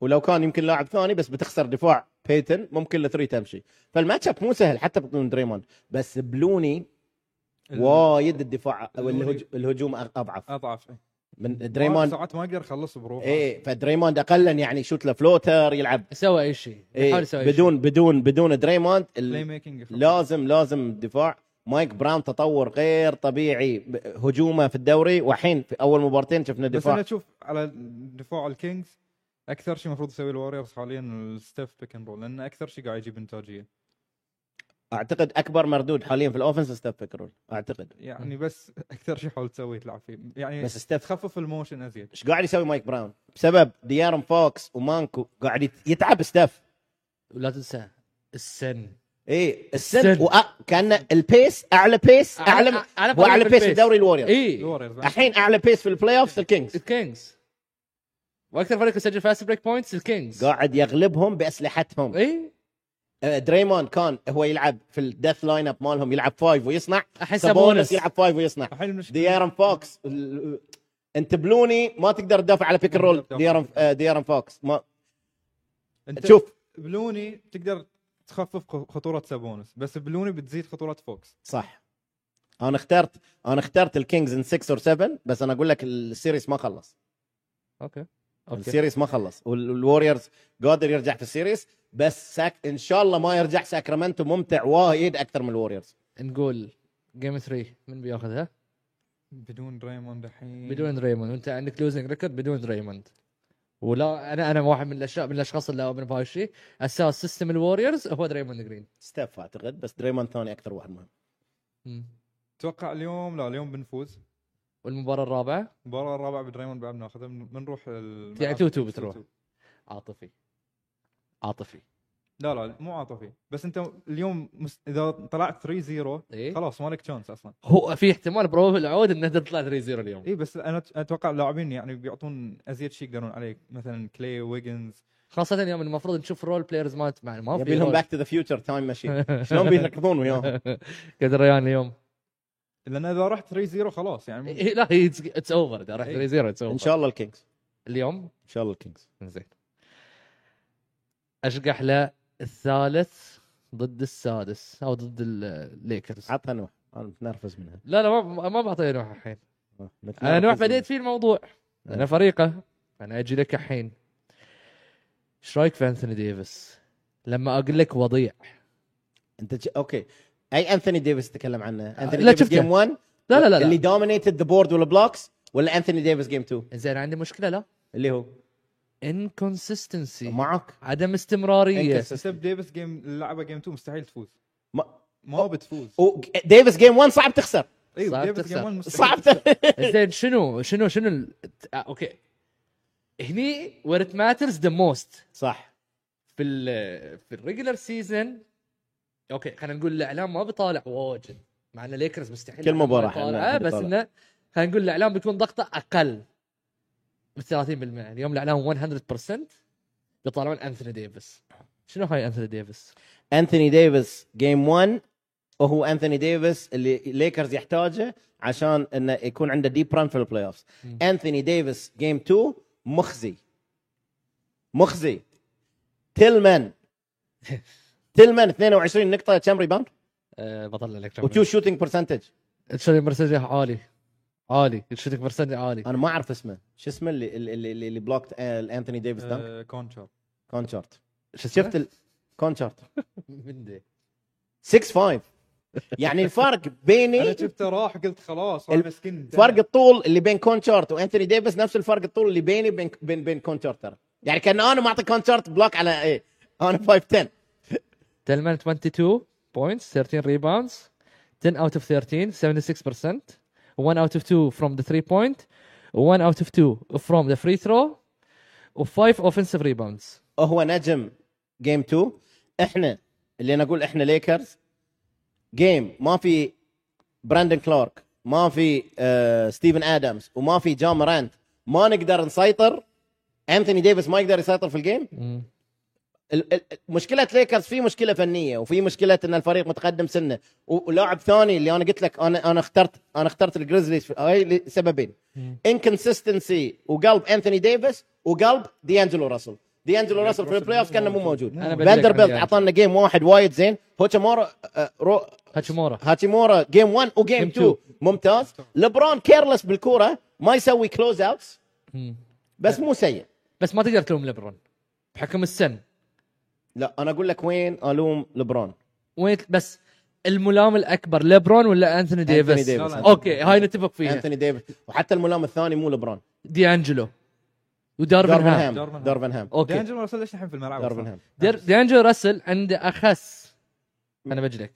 S2: ولو كان يمكن لاعب ثاني بس بتخسر دفاع بيتن ممكن الثري تمشي فالماتش اب مو سهل حتى بدون دريموند بس بلوني
S3: ال-
S2: وايد الدفاع أو
S3: الهجوم-
S2: الهج- الهجوم أ- اضعف
S3: اضعف إيه.
S2: من
S3: ما-
S2: دريموند
S3: ساعات ما اقدر اخلص بروحه
S2: ايه فدريموند اقلا يعني يشوت له فلوتر يلعب
S1: يسوي اي شيء
S2: إيه
S1: يحاول يسوي أي شيء.
S2: بدون بدون بدون دريموند ال-
S3: بلاي ميكنج يخلص.
S2: لازم لازم الدفاع مايك براون تطور غير طبيعي ب- هجومه في الدوري والحين في اول مبارتين شفنا
S3: بس انا
S2: دفاع
S3: اشوف على دفاع الكينجز اكثر شيء المفروض يسوي الوريورز حاليا الستيف بيك اند رول لان اكثر شيء قاعد يجيب انتاجيه
S2: اعتقد اكبر مردود حاليا في الاوفنس ستيف بيكرول اعتقد
S3: يعني بس اكثر شيء حاول تسويه تلعب فيه يعني
S2: بس ستيف
S3: تخفف الموشن ازيد
S2: ايش قاعد يسوي مايك براون بسبب ديارن فوكس ومانكو قاعد يت- يتعب ستيف
S1: ولا تنسى السن
S2: اي إيه، السن
S1: السن.
S2: وأ... كان البيس اعلى بيس اعلى هو اعلى بيس في إيه. الدوري الوريورز
S1: اي
S3: الوريورز بعد.
S2: الحين اعلى بيس في البلاي اوف الكينجز
S1: الكينجز واكثر فريق يسجل فاست بريك بوينتس الكينجز
S2: قاعد يغلبهم باسلحتهم
S1: اي
S2: آه، دريموند كان هو يلعب في الديث لاين اب مالهم يلعب فايف ويصنع
S1: الحين
S2: سابونس
S1: سابونس
S2: يلعب فايف ويصنع
S3: الحين المشكله
S2: ديارن فوكس ال- انت بلوني ما تقدر تدافع على بيك رول ديارن آه، ديارن فوكس ما
S3: انت
S2: شوف
S3: بلوني تقدر تخفف خ- خطوره سابونس بس بلوني بتزيد خطوره فوكس
S2: صح انا اخترت انا اخترت الكينجز ان 6 اور 7 بس انا اقول لك السيريس ما خلص
S1: اوكي اوكي
S2: السيريس ما خلص والوريورز قادر يرجع في السيريس بس ساك ان شاء الله ما يرجع ساكرامنتو ممتع وايد اكثر من الوريورز
S1: نقول جيم 3 من بياخذها؟
S3: بدون دريموند الحين
S1: بدون ريموند وانت عندك لوزنج ريكورد بدون ريموند ولا انا انا واحد من الاشياء من الاشخاص اللي اؤمن بهالشيء اساس سيستم الوريورز هو دريموند جرين
S2: ستيف اعتقد بس دريموند ثاني اكثر واحد مهم
S1: مم.
S3: اتوقع اليوم لا اليوم بنفوز
S1: والمباراه الرابعه
S3: المباراه الرابعه بدريموند بعد بناخذها بن- بنروح ال-
S1: يعني 2 2
S3: 2-2.
S1: بتروح عاطفي عاطفي
S3: لا لا مو عاطفي بس انت اليوم مس... اذا طلعت 3 0
S1: إيه؟
S3: خلاص ما لك تشانس اصلا
S1: هو في احتمال بروف العود انه تطلع 3 0 اليوم
S2: إيه.
S3: اي بس انا أت- اتوقع اللاعبين يعني بيعطون ازيد شيء يقدرون عليه مثلا كلي ويجنز
S1: خاصه اليوم المفروض نشوف رول بلايرز مالت مع ما
S2: يبي
S1: في
S2: لهم
S1: رول.
S2: باك تو ذا فيوتشر تايم ماشين شلون بيركضون وياهم
S1: قد ريان اليوم
S3: لان اذا رحت 3 0 خلاص يعني
S1: إيه، لا اتس اوفر اذا رحت
S3: إيه.
S1: 3 0 اتس اوفر
S2: ان شاء الله الكينجز
S1: اليوم
S2: ان شاء الله الكينجز
S1: زين اشقح له الثالث ضد السادس او ضد الليكرز
S2: عطها نوح انا متنرفز منها
S1: لا لا ما ما بعطيه نوح الحين انا
S2: متنرفز
S1: آه، نوح
S2: منها.
S1: بديت فيه الموضوع انا فريقه انا اجي لك الحين ايش رايك في انثوني ديفيس؟ لما اقول لك وضيع
S2: انت ج... اوكي اي انثوني ديفيس تتكلم عنه انثوني
S1: آه، لا
S2: ديفيس
S1: شفته.
S2: جيم 1
S1: لا لا لا,
S2: اللي
S1: لا.
S2: دومينيتد ذا بورد والبلوكس ولا انثوني ديفيس جيم 2
S1: زين عندي مشكله لا
S2: اللي هو
S1: انكونسستنسي
S2: معك
S1: عدم استمراريه
S2: Inconsistent.
S3: ستيب ديفيس جيم لعبه جيم 2 مستحيل تفوز
S2: ما...
S3: ما بتفوز
S2: و... ديفيس جيم 1 صعب تخسر
S1: صعب
S3: ديفيس
S1: تخسر.
S3: جيم 1 مستحيل
S2: صعب ت...
S1: زين شنو شنو شنو ال... آه، اوكي هني وير ات ماترز ذا موست
S2: صح
S1: في ال في الريجلر سيزون اوكي خلينا نقول الاعلام ما بيطالع واجد مع ان الليكرز مستحيل
S2: كل
S1: الإعلام
S2: مباراة
S1: ما يطالع،
S2: الإعلام
S1: بس
S2: بيطالع.
S1: انه خلينا نقول الاعلام بيكون ضغطه اقل من يعني 30% اليوم الاعلام 100% بيطالعون انثوني ديفيس شنو هاي انثوني ديفيس؟
S2: انثوني ديفيس جيم 1 وهو انثوني ديفيس اللي ليكرز يحتاجه عشان انه يكون عنده ديب ران في البلاي اوفز
S1: مم.
S2: انثوني ديفيس جيم 2 مخزي مخزي تلمن تلمن 22 نقطه كم ريباوند
S1: أه بطلع لك
S2: وتو شوتنج برسنتج
S1: الشوتنج برسنتج عالي عالي الشوتنج برسنتج عالي
S2: انا ما اعرف اسمه شو اسمه اللي اللي اللي, آه، اللي بلوكت انثوني ديفيس دانك
S3: آه، كونشر
S2: كونشارت
S1: شو اسمه؟
S2: شفت الكونشارت
S1: من دي
S2: 6 5 يعني الفرق
S3: انا
S2: بيني
S3: شفته راح قلت خلاص
S2: ال-
S3: هاي مسكين
S2: فرق الطول اللي بين كونشارت وانثوني ديفيس نفس الفرق الطول اللي بيني وبين بين بين كونشارت ترى يعني كان انا معطي كونشارت بلوك على ايه انا 5 10
S1: تلمان 22 بوينتس 13 ريباوندز 10 اوت اوف 13 76% 1 اوت اوف 2 from the 3 point 1 out of 2 from the free throw و 5 offensive rebounds
S2: هو نجم جيم 2 احنا اللي انا اقول احنا ليكرز جيم ما في براندن كلارك ما في آه ستيفن ادمز وما في جام رانت ما نقدر نسيطر انثوني ديفيس ما يقدر يسيطر في الجيم ال- ال- مشكله ليكرز في مشكله فنيه وفي مشكله ان الفريق متقدم سنه و- ولاعب ثاني اللي انا قلت لك انا انا اخترت انا اخترت الجريزليز في- هاي لسببين انكونسستنسي وقلب انثوني ديفيس وقلب ديانجلو راسل ديانجلو راسل في البلاي اوف كان مو موجود
S1: أنا بدري عن
S2: فاندربيلت
S1: ديانجلو.
S2: اعطانا جيم واحد وايد زين هوتشامورا آه، رو-
S1: هاتشيمورا
S2: هاتيمورا جيم 1 وجيم
S1: جيم
S2: 2
S1: 2.
S2: ممتاز لبرون كيرلس بالكوره ما يسوي كلوز اوتس
S1: مم.
S2: بس مو سيء
S1: بس ما تقدر تلوم لبرون بحكم السن
S2: لا انا اقول لك وين الوم لبرون
S1: وين بس الملام الاكبر لبرون ولا انثوني ديفيس؟
S2: ديفيس.
S3: لا، لا.
S1: اوكي هاي نتفق فيها
S2: انثوني ديفيس وحتى الملام الثاني مو لبرون
S1: دي انجلو ودارفن
S2: دارفنهام
S3: دارفنهام.
S2: دارفنهام
S1: اوكي
S3: دانجلو راسل ليش الحين في الملعب
S2: دارفنهام
S1: دير- دانجلو راسل عنده اخس انا بجلك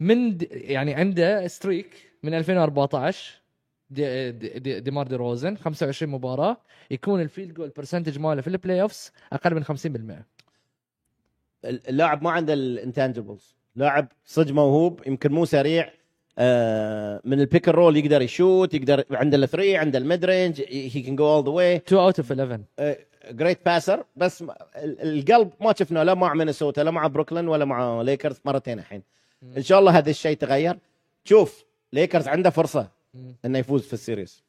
S1: من د- يعني عنده ستريك من 2014 دي دي- دي- ديمار دي روزن 25 مباراه يكون الفيلد جول برسنتج ماله في البلاي اوفس اقل من 50%
S2: اللاعب ما عنده الانتانجبلز لاعب صدق موهوب يمكن مو سريع آه، من البيك رول يقدر يشوت يقدر عنده الثري عنده الميد رينج هي كان جو اول ذا واي
S1: 2 اوت اوف 11
S2: جريت باسر بس م- ال- القلب ما شفناه لا مع مينيسوتا لا مع بروكلين ولا مع ليكرز مرتين الحين ان شاء الله هذا الشيء تغير شوف ليكرز عنده فرصه انه يفوز في السيريز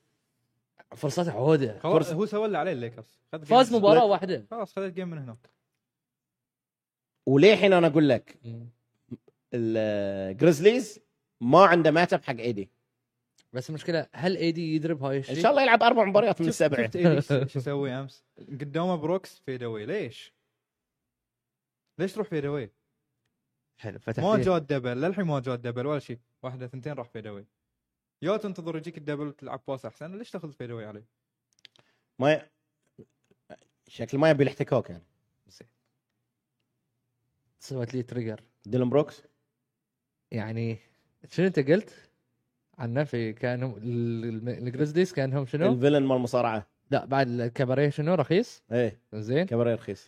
S1: فرصته عوده
S3: خلاص
S2: فرصة.
S3: هو سوى اللي عليه الليكرز خد جيم.
S1: فاز مباراه واحده
S3: خلاص خذت جيم من هناك
S2: وللحين انا اقول لك الجريزليز ما عنده ماتش اب حق ايدي
S1: بس المشكله هل اي دي يدرب هاي
S2: ان
S1: الشيء؟
S2: شاء الله يلعب اربع مباريات من
S3: شفت-
S2: السبعه
S3: شفت AD شو- شو يسوي امس قدامه بروكس فيد اواي ليش؟ ليش تروح فيد اواي؟
S1: حلو فتح
S3: ما
S1: فيه.
S3: جاء الدبل للحين ما جاء الدبل ولا شيء واحده ثنتين راح فيد اواي يا تنتظر يجيك الدبل تلعب باس احسن ليش تاخذ فيد اواي عليه؟
S2: ما ي... شكل ما يبي الاحتكاك يعني
S1: سوت لي تريجر
S2: ديلن بروكس
S1: يعني شنو انت قلت؟ عنه في كانهم ال- الم- الجريزليز كانهم شنو؟
S2: الفيلن مال المصارعه
S1: لا بعد الكباريه شنو رخيص
S2: ايه
S1: زين
S2: كبري رخيص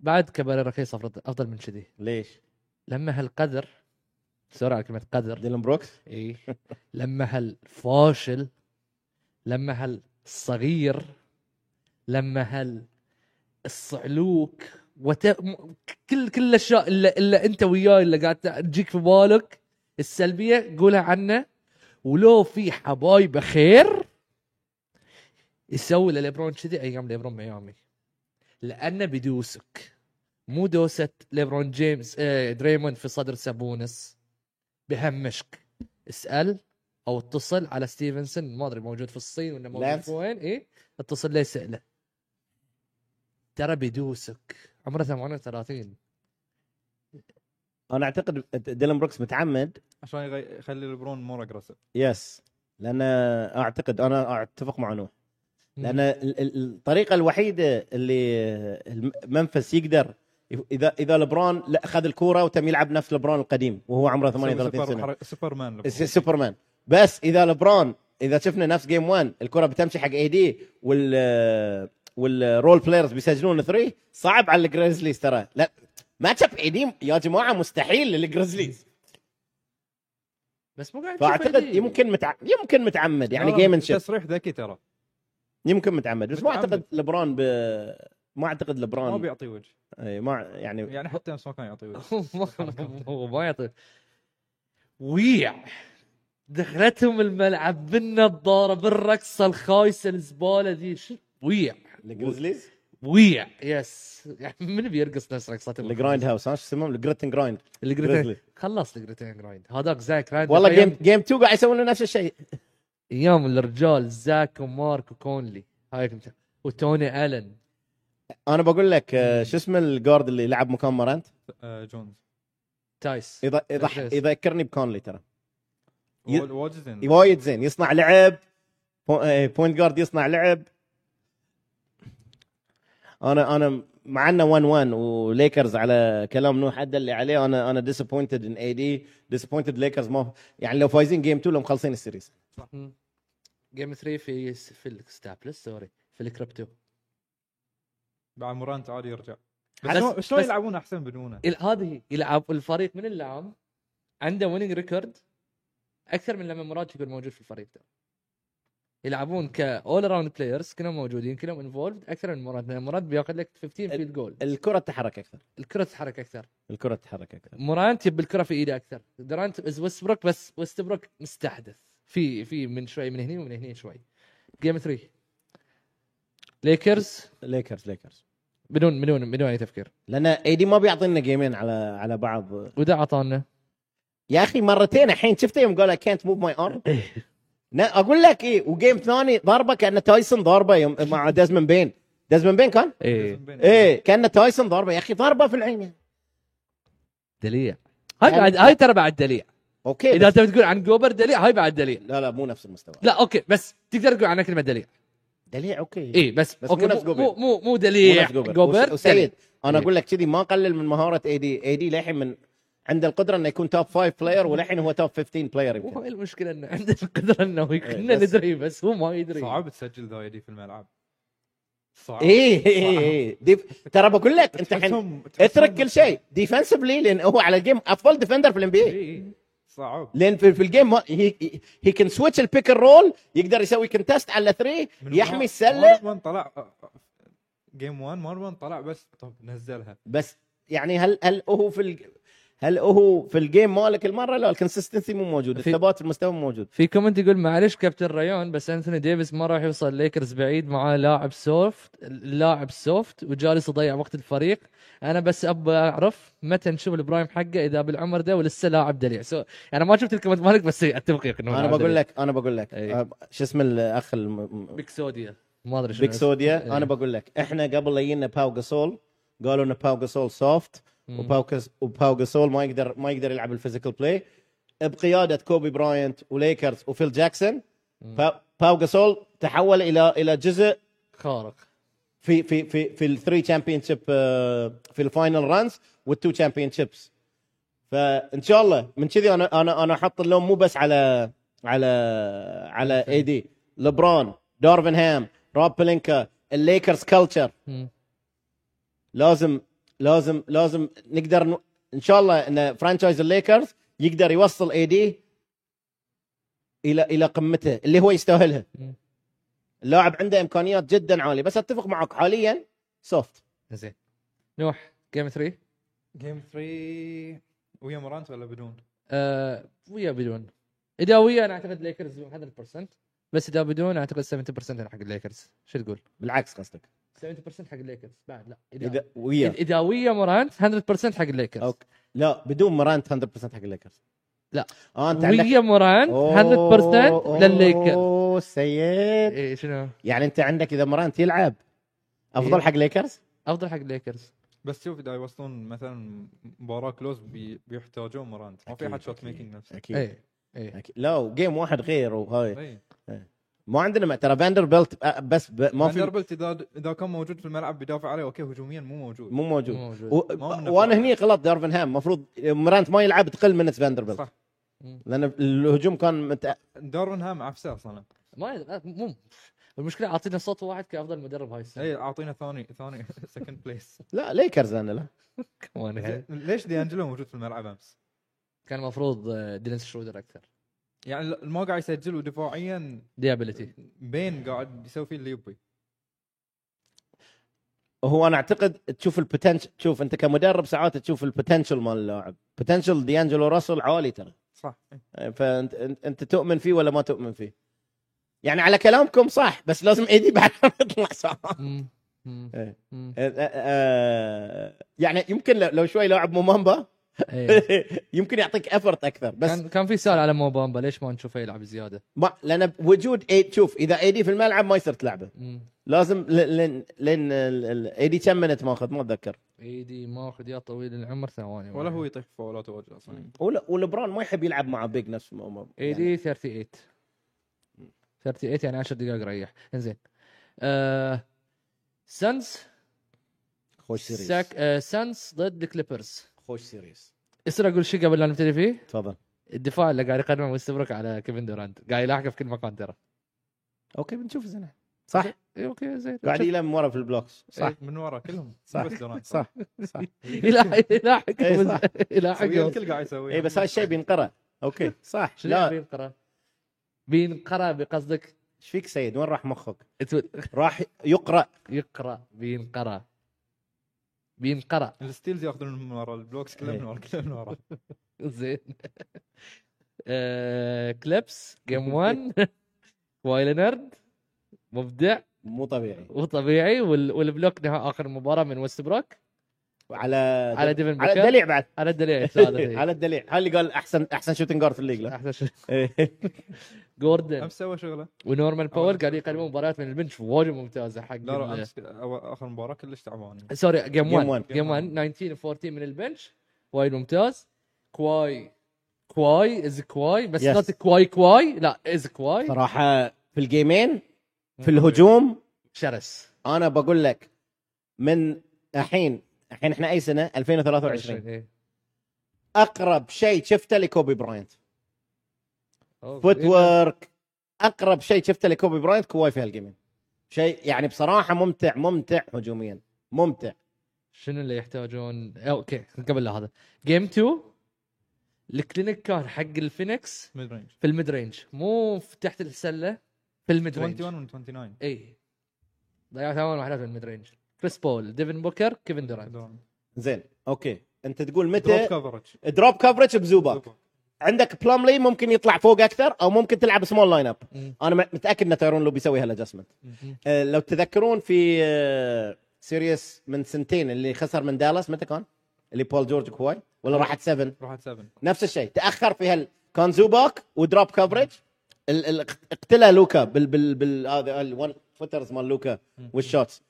S1: بعد كباريه رخيص أفرض- افضل من كذي
S2: ليش
S1: لما هالقدر سوري على كلمه قدر
S2: ديلن بروكس
S1: اي لما هالفاشل لما هالصغير لما هال الصعلوك وت... م- كل كل الاشياء اللي, اللي انت وياه اللي قاعد تجيك في بالك السلبيه قولها عنه ولو في حبايبه خير يسوي لليبرون كذي ايام ليبرون ميامي لانه بيدوسك مو دوسه ليبرون جيمس آه، دريموند في صدر سابونس بهمشك اسال او اتصل على ستيفنسون ما ادري موجود في الصين ولا موجود
S2: لانس.
S1: في وين اي اتصل لي ساله ترى بيدوسك عمره 38
S2: انا اعتقد ديلن بروكس متعمد
S3: عشان يغي- يخلي البرون مور اجريسيف
S2: يس لان اعتقد انا اتفق مع نوح لان ال- ال- الطريقه الوحيده اللي الم- منفس يقدر يف- اذا اذا لبرون لا اخذ الكوره وتم يلعب نفس لبرون القديم وهو عمره 38 سنه
S3: سوبرمان لبرون.
S2: س- سوبرمان بس اذا لبرون اذا شفنا نفس جيم 1 الكره بتمشي حق اي دي وال والرول بلايرز بيسجلون ثري صعب على الجريزليز ترى لا ماتش اب اي دي يا جماعه مستحيل للجريزليز
S1: بس مو قاعد تشوف
S2: فاعتقد
S1: ID.
S2: يمكن متع... يمكن متعمد يعني
S3: لا،
S2: جيم ان
S3: تصريح ذكي ترى
S2: يمكن متعمد بس ما
S3: متعمد.
S2: اعتقد لبرون ب... ما اعتقد
S3: ما
S2: لبرون
S3: بيعطي وجه
S2: اي ما يعني
S3: يعني حتى امس ما كان يعطي وجه
S1: ما- هو ما يعطي طيب. ويع دخلتهم الملعب بالنظاره بالرقصه الخايسه الزباله دي شو- ويع
S3: يعني
S2: الجريزليز
S1: ويع يس يعني من بيرقص نفس رقصتهم
S2: الجرايند هاوس ها شو اسمهم الجريتن جرايند
S1: الجريتين
S2: جريزليز.
S1: خلص الجريتين جرايند هذاك زاك راندل
S2: والله
S1: أيام-
S2: جيم جيم 2 قاعد يسوون نفس الشيء
S1: ايام الرجال زاك ومارك وكونلي هاي كنت وتوني الن
S2: انا بقول لك آه، شو اسم الجارد اللي لعب مكان مارانت
S3: آه، جونز
S1: تايس
S2: يض- يضح-
S1: Yes.
S2: يذكرني بكونلي ترى ي-
S3: وال- واجد زين.
S2: وايد زين يصنع لعب بوينت جارد يصنع لعب انا انا مع انه 1 1 وليكرز على كلام نوح ادى اللي عليه انا انا ديسابوينتد ان اي دي ديسابوينتد ليكرز ما يعني لو فايزين جيم 2 لو مخلصين السيريز
S1: جيم 3 في في الستابلس سوري في الكريبتو
S3: بعد مورانت عادي يرجع بس
S1: بس-
S3: شلون- شلون
S1: بس-
S3: يلعبون احسن بدونه
S1: ال- هذه يلعب الفريق من اللعب عنده ويننج ريكورد اكثر من لما مراد يكون موجود في الفريق ده يلعبون كاول اراوند بلايرز كلهم موجودين كلهم انفولد اكثر من مراد لان مراد بياخذ لك 15
S2: ال-
S1: فيلد جول
S2: الكره تتحرك اكثر
S1: الكره تتحرك اكثر
S2: الكره تتحرك اكثر
S1: مورانت يبي الكره في ايده اكثر دورانت از ويستبروك بس ويستبروك مستحدث في في من شوي من هني ومن هني شوي جيم 3 ليكرز
S2: ليكرز ليكرز
S1: بدون بدون بدون اي تفكير
S2: لان اي دي ما بيعطينا جيمين على على بعض
S1: وده اعطانا
S2: يا اخي مرتين الحين شفته يوم قال كانت موف ماي ارم اقول لك ايه وجيم ثاني ضربه كان تايسون ضربه يوم مع دازمن بين دازمن بين كان
S1: ايه
S3: إيه.
S2: ايه كان تايسون ضربه يا اخي ضربه في العين يعني.
S1: دليع هاي
S2: يعني-
S1: بعد هاي ترى بعد دليع
S2: اوكي
S1: اذا
S2: بس-
S1: انت بتقول عن جوبر دليع هاي بعد دليع
S2: لا لا مو نفس المستوى
S1: لا اوكي بس تقدر تقول عنها كلمه دليع
S2: دليع اوكي
S1: اي بس,
S2: إيه، بس مو
S1: اوكي
S2: نفس
S1: مو
S2: جوبر.
S1: مو مو, مو
S2: مو
S1: دليع
S2: نفس
S1: جوبر,
S2: وس- وسيد
S1: دليع.
S2: انا
S1: إيه.
S2: اقول لك كذي ما اقلل من مهاره اي دي اي دي للحين من عنده القدره انه يكون توب 5 بلاير وللحين هو توب 15 بلاير يمكن
S1: وهو المشكله انه عنده القدره انه كنا
S2: إيه، بس-
S1: ندري بس هو ما يدري
S3: صعب تسجل ذايدي في الملعب صعب
S2: ايه ايه ايه ديف- ترى بقول لك انت الحين
S3: إيه، تحسهم- تحسهم-
S2: اترك كل شيء ديفنسفلي لان هو على الجيم افضل ديفندر في الان بي اي
S3: إيه، صعب
S2: لان في, في الجيم هي هي كان سويتش البيك رول يقدر يسوي كنتست على 3
S3: من
S2: يحمي
S3: مار-
S2: السله
S3: مارفن طلع أه، جيم 1 مارفن طلع بس طب نزلها
S2: بس يعني هل هل هو في ال... هل هو في الجيم مالك المره لا الكونسستنسي مو موجود
S1: في-
S2: الثبات في المستوى مو موجود
S1: في كومنت يقول معلش كابتن ريون بس انثوني ديفيس ما راح يوصل ليكرز بعيد معاه لاعب سوفت لاعب سوفت وجالس يضيع وقت الفريق انا بس ابى اعرف متى نشوف البرايم حقه اذا بالعمر ده ولسه لاعب دليع سو انا ما شفت الكومنت مالك بس اتفق وياك انه
S2: انا بقول لك انا بقول لك
S1: أي.
S2: أه، شو اسم الاخ الم- م-
S1: بيكسوديا ما ادري شنو
S2: بيك سوديا
S1: إيه.
S2: انا بقول لك احنا قبل لا يجينا باو جاسول قالوا ان باو جاسول سوفت
S1: مم.
S2: وباو كس- وباو جاسول ما يقدر ما يقدر يلعب الفيزيكال بلاي بقياده كوبي براينت وليكرز وفيل جاكسون
S1: مم.
S2: با- باو جاسول تحول الى الى جزء
S1: خارق
S2: في في في في الثري تشامبيون شيب آه، في الفاينل رانز والتو تشامبيون شيبس فان شاء الله من كذي انا انا انا احط اللوم مو بس على على على اي دي لبرون دارفن هام روب بلينكا الليكرز كلتشر
S1: مم.
S2: لازم لازم لازم نقدر ن... ان شاء الله ان فرانشايز الليكرز يقدر يوصل اي دي الى الى قمته اللي هو يستاهلها
S1: مم.
S2: اللاعب عنده امكانيات جدا عاليه بس اتفق معك حاليا سوفت
S1: زين نوح جيم 3
S3: جيم 3 ويا مورانت ولا بدون؟
S1: آه ويا بدون اذا ويا انا اعتقد ليكرز 100% بس اذا بدون اعتقد 70% حق الليكرز شو تقول؟
S2: بالعكس قصدك
S1: 70% حق الليكرز بعد لا
S2: اذا
S1: اذا
S2: ويا
S1: اذا ويا مورانت 100% حق الليكرز
S2: اوكي لا بدون مرانت 100% حق الليكرز
S1: لا.
S2: اه انت عندك
S1: ويا مورانت 100% للليكرز
S2: اوه سيد
S1: اي شنو
S2: يعني انت عندك اذا مرانت يلعب افضل
S1: إيه.
S2: حق ليكرز
S1: افضل حق الليكرز
S3: بس شوف اذا يوصلون مثلا مباراه كلوز بي بيحتاجون مورانت ما في
S2: أكيد،
S3: احد شوت
S2: أكيد.
S3: ميكينج نفسه
S2: اكيد
S1: اي اي
S2: أكيد. لا وجيم واحد غير وهاي
S3: اي
S2: ما عندنا ما- ترى فاندر بيلت آه، بس ب- ما في
S3: فاندربلت اذا اذا كان موجود في الملعب بيدافع عليه اوكي هجوميا مو موجود
S2: مو موجود
S1: مو موجود.
S2: و...
S3: ما من
S2: وانا
S3: نفوذ.
S2: هني غلط دارفن هام المفروض مرانت ما يلعب تقل من فاندربلت
S3: صح.
S1: مم.
S2: لان الهجوم كان متأ...
S3: دارون هام عفسه اصلا
S1: ما يد- مو المشكله عاطينا صوت واحد كافضل مدرب هاي السنه
S2: أيوه.
S3: اي اعطينا إيه، ثاني ثاني سكند بليس
S2: لا ليكرز انا لا
S1: كمان
S2: إيه. أيوه.
S1: يعني.
S3: ليش دي انجلو موجود في الملعب امس؟
S1: كان المفروض آه، دينيس شرودر اكثر
S3: يعني ما قاعد يسجل ودفاعيا
S2: إيه.
S1: ديابيلتي
S3: بين قاعد يسوي فيه اللي يبي
S2: هو انا اعتقد تشوف البوتنشل تشوف انت كمدرب ساعات تشوف البوتنشل مال اللاعب بوتنشل ديانجلو راسل عالي ترى
S3: صح
S2: فانت انت, انت تؤمن فيه ولا ما تؤمن فيه يعني على كلامكم صح بس لازم ايدي بعد ما يطلع صح
S1: مم. مم.
S2: إيه.
S1: مم.
S2: يعني يمكن لو- لو شوي لاعب مومامبا
S1: إيه.
S2: يمكن يعطيك افرت اكثر بس
S1: كان كان في سؤال على موبامبا ليش ما نشوفه يلعب زياده؟
S2: ما لان وجود ايد شوف اذا ايدي في الملعب ما يصير تلعبه
S1: مم.
S2: لازم ل- لان لان ايدي كم منت ماخذ ما اتذكر
S1: ايدي ماخذ يا طويل العمر ثواني
S3: ولا
S2: إيه.
S3: هو يطيح فاولات واجد اصلا
S2: ولا- ولبران ما يحب يلعب مع بيج نفس مومامبا يعني.
S1: ايدي 38 38 يعني 10 دقائق ريح انزين آه سانز
S2: خوش سيريس
S1: ساك آه سانز ضد الكليبرز
S2: خوش سيريس
S1: اسرع اقول شيء قبل لا نبتدي فيه
S2: تفضل
S1: الدفاع اللي قاعد يقدمه ويستبرك على كيفن دورانت قاعد يلاحقه في كل مكان ترى
S2: اوكي بنشوف زين صح
S1: إيه، اوكي زين
S2: قاعد
S1: شوف.
S2: يلم ورا في البلوكس
S3: صح من ورا كلهم
S2: صح.
S3: بس دورانت
S2: إيه. صح صح
S1: يلاحق يلاحق
S2: إيه، صح.
S3: يسويه
S1: يلاحق
S3: الكل قاعد يسويه
S2: اي إيه، بس هاي الشيء بينقرا اوكي صح
S1: شنو
S2: لا
S1: بينقرا؟ بينقرا بقصدك
S2: ايش فيك سيد وين راح مخك
S1: تقول
S2: راح يقرا
S1: يقرا بينقرا بينقرا
S3: الستيلز ياخذون من ورا البلوكس
S2: إيه.
S3: كلهم من ورا كلهم من ورا
S1: زين آه، كليبس جيم 1 واي لينارد مبدع
S2: مو طبيعي
S1: وطبيعي وال- والبلوك نهاية اخر مباراه من ويست بروك
S2: وعلى
S1: على ديفن
S2: على إيه،
S1: بيكر
S2: الدليع بعد
S1: على إيه؟ الدليع
S2: على الدليع هاي اللي قال احسن احسن شوتنج جارد في إيه. الليج له.
S1: احسن شيء جوردن
S3: امس سوى شغله
S1: ونورمان باول
S3: أول-
S1: قاعد يقدمون مباريات من البنش واجد ممتازه حق
S3: لا
S1: ال-
S3: لا امس أو- اخر مباراه كلش تعبان
S1: سوري جيم
S2: Game
S1: 1
S2: one.
S1: جيم 1 19 14 من البنش وايد ممتاز كواي كواي از كواي بس
S2: Yes.
S1: نوت كواي كواي لا از كواي
S2: صراحه في الجيمين في الهجوم
S1: شرس
S2: انا بقول لك من الحين الحين احنا اي سنه 2023
S1: إيه.
S2: اقرب شيء شفته لكوبي براينت
S1: أوه.
S2: فوت
S1: إيه.
S2: ورك اقرب شيء شفته لكوبي براينت كواي في هالجيمين شيء يعني بصراحه ممتع ممتع هجوميا ممتع
S1: شنو اللي يحتاجون أه، اوكي قبل لا هذا جيم 2 الكلينيك كان حق الفينكس
S3: ميد رينج
S1: في الميد رينج مو في تحت السله في الميد رينج
S3: 21 و 29
S1: اي ضيعت اول واحده في الميد رينج كريس بول ديفن بوكر كيفن دورانت
S2: زين اوكي انت تقول
S3: دروب
S2: متى
S3: كفرج
S2: دروب كفرج بزوبك عندك بلاملي ممكن يطلع فوق اكثر او ممكن تلعب سمول لاين اب
S1: مم.
S2: انا م- متاكد ان تايرون لو بيسوي هالادجستمنت
S1: مم.
S2: أه، لو تذكرون في أه، سيريس من سنتين اللي خسر من دالاس متى كان؟ اللي بول جورج كواي ولا راحت 7
S3: راحت 7
S2: نفس الشيء تاخر في هال كان زوباك ودروب كفرج ال... ال... اقتلى لوكا بال بال بال آه، هذا الون فوترز مال لوكا والشوتس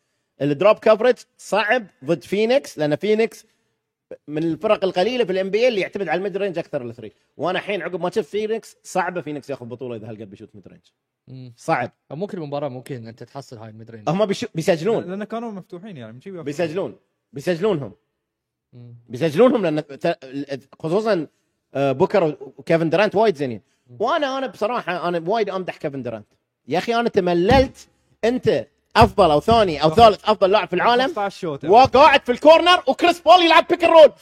S2: الدروب كفرج صعب ضد فينيكس لان فينيكس من الفرق القليله في الام بي اللي يعتمد على الميد رينج اكثر الثري وانا الحين عقب ما شفت فينيكس صعبه فينيكس ياخذ بطوله اذا هالقد بيشوت ميد رينج
S1: مم.
S2: صعب
S1: مو كل مباراه ممكن انت تحصل هاي الميد
S3: أه.
S1: رينج
S2: هم بيشو... بيسجلون
S3: لان كانوا مفتوحين يعني من شي بياخذون.
S2: بيسجلون بيسجلونهم
S1: مم.
S2: بيسجلونهم لان ت- خصوصا آه، بوكر وكيفن درانت وايد زينين وانا انا بصراحه انا وايد امدح كيفن درانت يا اخي انا تمللت انت افضل او ثاني او ثالث افضل لاعب في العالم
S3: 15 شوت
S2: وقاعد في الكورنر وكريس بول يلعب بيك أند رول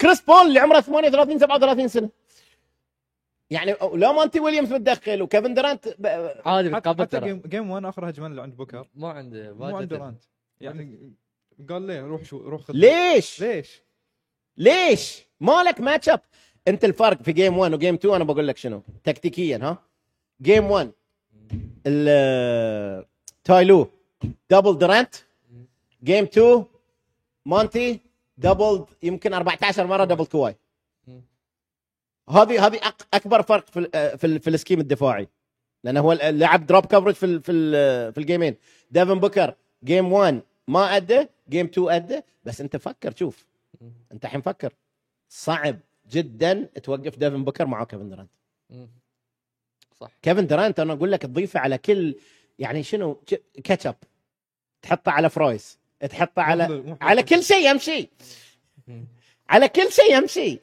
S2: كريس بول اللي عمره 38 37 سنه يعني لو ما انت ويليامز متدخل وكيفن درانت ب-
S1: عادي
S3: حتى,
S1: بتقابل
S3: حتى
S1: ترى
S3: جيم, جيم 1 اخر هجمه اللي عند بوكر
S1: مو عنده
S3: مو عند
S1: ما
S3: دورانت يعني قال ليه روح شو روح خذ
S2: ليش؟
S3: ليش؟
S2: ليش؟ مالك ماتش اب انت الفرق في جيم 1 وجيم 2 انا بقول لك شنو تكتيكيا ها جيم 1 ال- تايلو دبل درانت جيم 2 مونتي دبل يمكن 14 مره دبل كواي هذه هذه أق- اكبر فرق في ال- آه، في ال- في السكيم الدفاعي لانه هو ال- لعب دروب كفرج في ال- في ال- آه، في الجيمين ديفن بوكر جيم 1 ما ادى جيم 2 ادى بس انت فكر شوف انت الحين فكر صعب جدا توقف ديفن بوكر مع كيفن درانت
S1: صح
S2: كيفن درانت انا اقول لك تضيفه على كل يعني شنو ج- كاتشب تحطه على فرايز تحطه على
S3: مو- مو-
S2: على كل شيء يمشي على كل شيء يمشي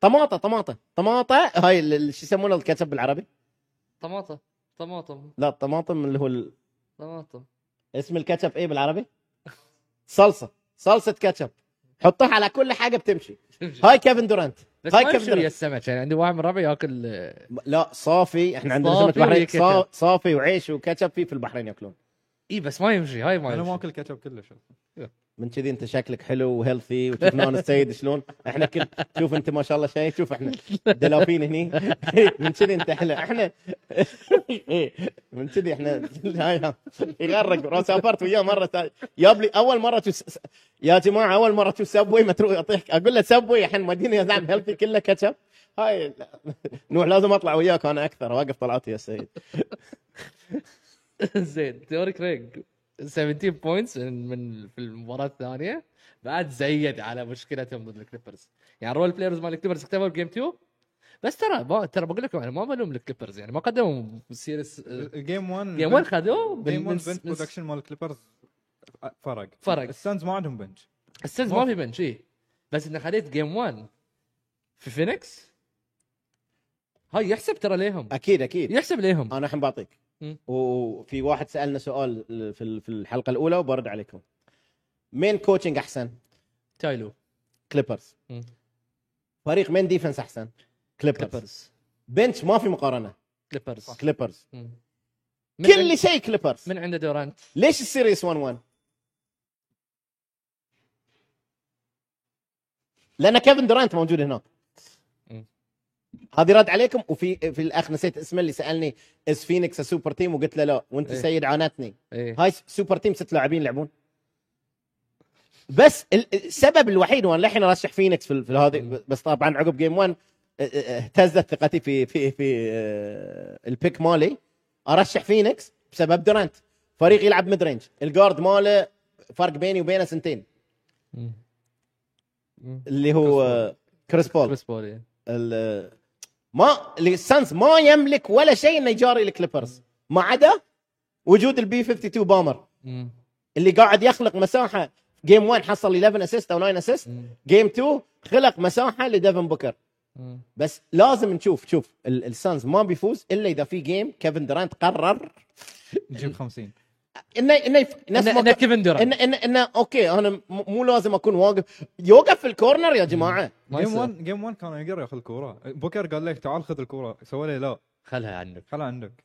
S2: طماطه طماطه طماطه هاي ال- ال- شو يسمونه الكاتشب بالعربي
S1: طماطم طماطم
S2: لا الطماطم اللي هو ال-
S1: طماطم
S2: اسم الكاتشب ايه بالعربي صلصه صلصه كاتشب حطها على كل حاجه بتمشي هاي كيفن دورانت
S1: بس
S2: هاي
S1: ما
S2: كيفن
S1: يمشي ويا
S2: دورانت
S1: السمك يعني عندي واحد من ربعي ياكل آه،
S2: لا صافي احنا عندنا
S1: صافي
S2: سمك بحرين
S1: وكاتشب.
S2: صا- صافي وعيش وكاتشب في في البحرين ياكلون
S1: اي بس ما يمشي هاي ما
S3: انا ما
S1: يمشي
S3: اكل كاتشب كلش
S2: من كذي انت شكلك حلو وهيلثي وشفنا انا السيد شلون احنا كل شوف انت ما شاء الله شيء شوف احنا دلافين هني من كذي انت احنا احنا إيه، من كذي احنا هاي ها، يغرق رو- سافرت وياه مره ثانيه جاب لي اول مره تو س- يا جماعه اول مره تو سبوي متروي اطيح اقول له سبوي الحين مدينه يا زلمه هيلثي كله كاتشب هاي لا. نوح لازم اطلع وياك انا اكثر واقف طلعت يا سيد
S1: زين تيوري كريج 17 بوينتس من من- في المباراه الثانيه بعد زيد على مشكلتهم ضد الكليبرز يعني رول بلايرز مال الكليبرز اكتفوا بجيم 2 بس ترى ما ترى بقول لكم انا ما بلوم الكليبرز يعني ما قدموا آه، سيريس
S3: جيم 1
S1: جيم 1 خذوه من-
S3: جيم
S1: من
S3: 1 بنش
S1: من-
S3: برودكشن مال الكليبرز فرق
S1: فرق.
S3: السانز ما عندهم بنش
S1: السنز ما
S3: ما
S1: في بنش إيه. بس انه خليت جيم 1 في فينيكس هاي يحسب ترى ليهم
S2: اكيد اكيد
S1: يحسب ليهم
S2: انا الحين بعطيك
S1: مم.
S2: وفي واحد سالنا سؤال في ال- في الحلقه الاولى وبرد عليكم مين كوتشنج احسن
S1: تايلو
S2: كليبرز
S1: مم.
S2: فريق مين ديفنس احسن كليبرز
S1: كليبرز
S2: بنش ما في مقارنه
S1: كليبرز
S2: كليبرز
S1: مم. من
S2: كل
S1: عند-
S2: شيء كليبرز
S1: من عنده دورانت
S2: ليش السيريس 1 1 لان كيفن دورانت موجود هناك
S1: مم.
S2: هذه رد عليكم وفي في الاخ نسيت اسمه اللي سالني از فينيكس سوبر تيم وقلت له لا وانت
S1: إيه.
S2: سيد عانتني
S1: ايه
S2: هاي سوبر تيم ست لاعبين يلعبون بس ال- السبب الوحيد وانا للحين ارشح فينيكس في, ال- في هذه بس طبعا عقب جيم 1 اه- اه- اهتزت ثقتي في في في اه، البيك مالي ارشح فينيكس بسبب دورانت فريق يلعب ميد رينج الجارد ماله فرق بيني وبينه سنتين
S1: مم. مم.
S2: اللي هو
S1: كريس
S2: اه، كريس بول
S1: كريس بول إيه.
S2: ال- ما السانس ما يملك ولا شيء انه يجاري الكليبرز ما عدا وجود البي 52 بامر
S1: مم.
S2: اللي قاعد يخلق مساحه جيم 1 حصل 11 اسيست او 9 اسيست
S1: مم.
S2: جيم 2 خلق مساحه لديفن بوكر
S1: مم.
S2: بس لازم نشوف شوف ال- السانز ما بيفوز الا اذا في جيم كيفن درانت قرر
S3: نجيب 50
S2: انه انه يف- نفس
S1: إنه-
S2: ما
S1: إنه
S2: ك-
S1: كيفن دورانت
S2: انه انه انه اوكي انا م- مو لازم اكون واقف يوقف في الكورنر يا جماعه
S1: ما
S3: جيم
S1: يصير.
S3: 1 جيم 1 كان يقدر ياخذ الكوره بوكر قال لك تعال خذ الكوره سوى لي لا
S1: خلها عنك
S3: خلها عندك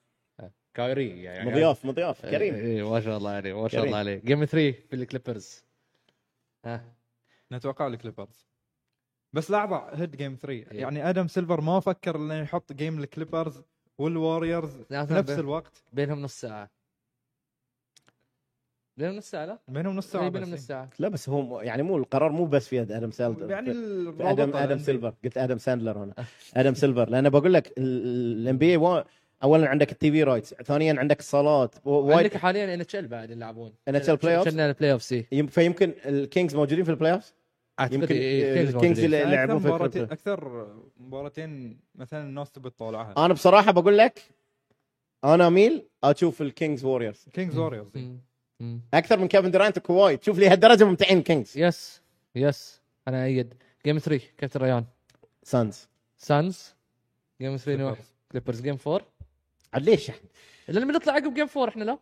S1: كايري يعني
S2: مضياف مضياف كريم
S1: اي ما شاء الله عليه ما شاء
S2: كريم.
S1: الله عليه جيم 3 في الكليبرز ها
S3: نتوقع الكليبرز بس لحظه هيد جيم 3
S1: إيه.
S3: يعني ادم سيلفر ما فكر انه يحط جيم الكليبرز والواريورز في
S1: لا،
S3: نفس
S1: بين-
S3: الوقت
S1: بينهم نص ساعه بينهم نص ساعه لا
S3: بينهم نص ساعه
S1: إي،
S3: بس.
S1: بينهم نص ساعه
S2: لا بس إيه. هو م- يعني مو القرار مو بس في يد ادم ساندلر
S3: يعني
S2: يعني
S3: الرابطة
S2: ادم
S3: الأندية.
S2: ادم سيلفر قلت ادم ساندلر هنا ادم سيلفر لان بقول لك الام بي اولا عندك التي في رايتس ثانيا عندك الصالات و- وايد
S1: عندك حاليا ان اتش ال بعد يلعبون
S2: NHL playoffs؟
S1: كنا البلاي اوف سي
S2: يم- فيمكن الكينجز موجودين في البلاي اوف
S1: اعتقد
S2: يمكن
S1: إي،
S2: الكينجز
S1: إيه، موجودين.
S2: اللي-
S3: يعني
S2: يلعبون في
S3: اكثر مباراتين
S2: الكليبرز.
S3: اكثر مباراتين مثلا الناس تبي تطالعها
S1: آه.
S2: انا بصراحه بقول لك انا اميل اشوف الكينجز ووريرز
S3: كينجز واريورز
S1: مم. مم.
S2: اكثر من كيفن دورانت وكواي تشوف لي هالدرجه ممتعين الكينجز
S1: يس يس انا ايد جيم 3 كيف الريان
S2: سانز
S1: سانز جيم 3 نروح كليبرز جيم 4
S2: عاد ليش يعني؟
S1: لان بنطلع عقب جيم 4 احنا لا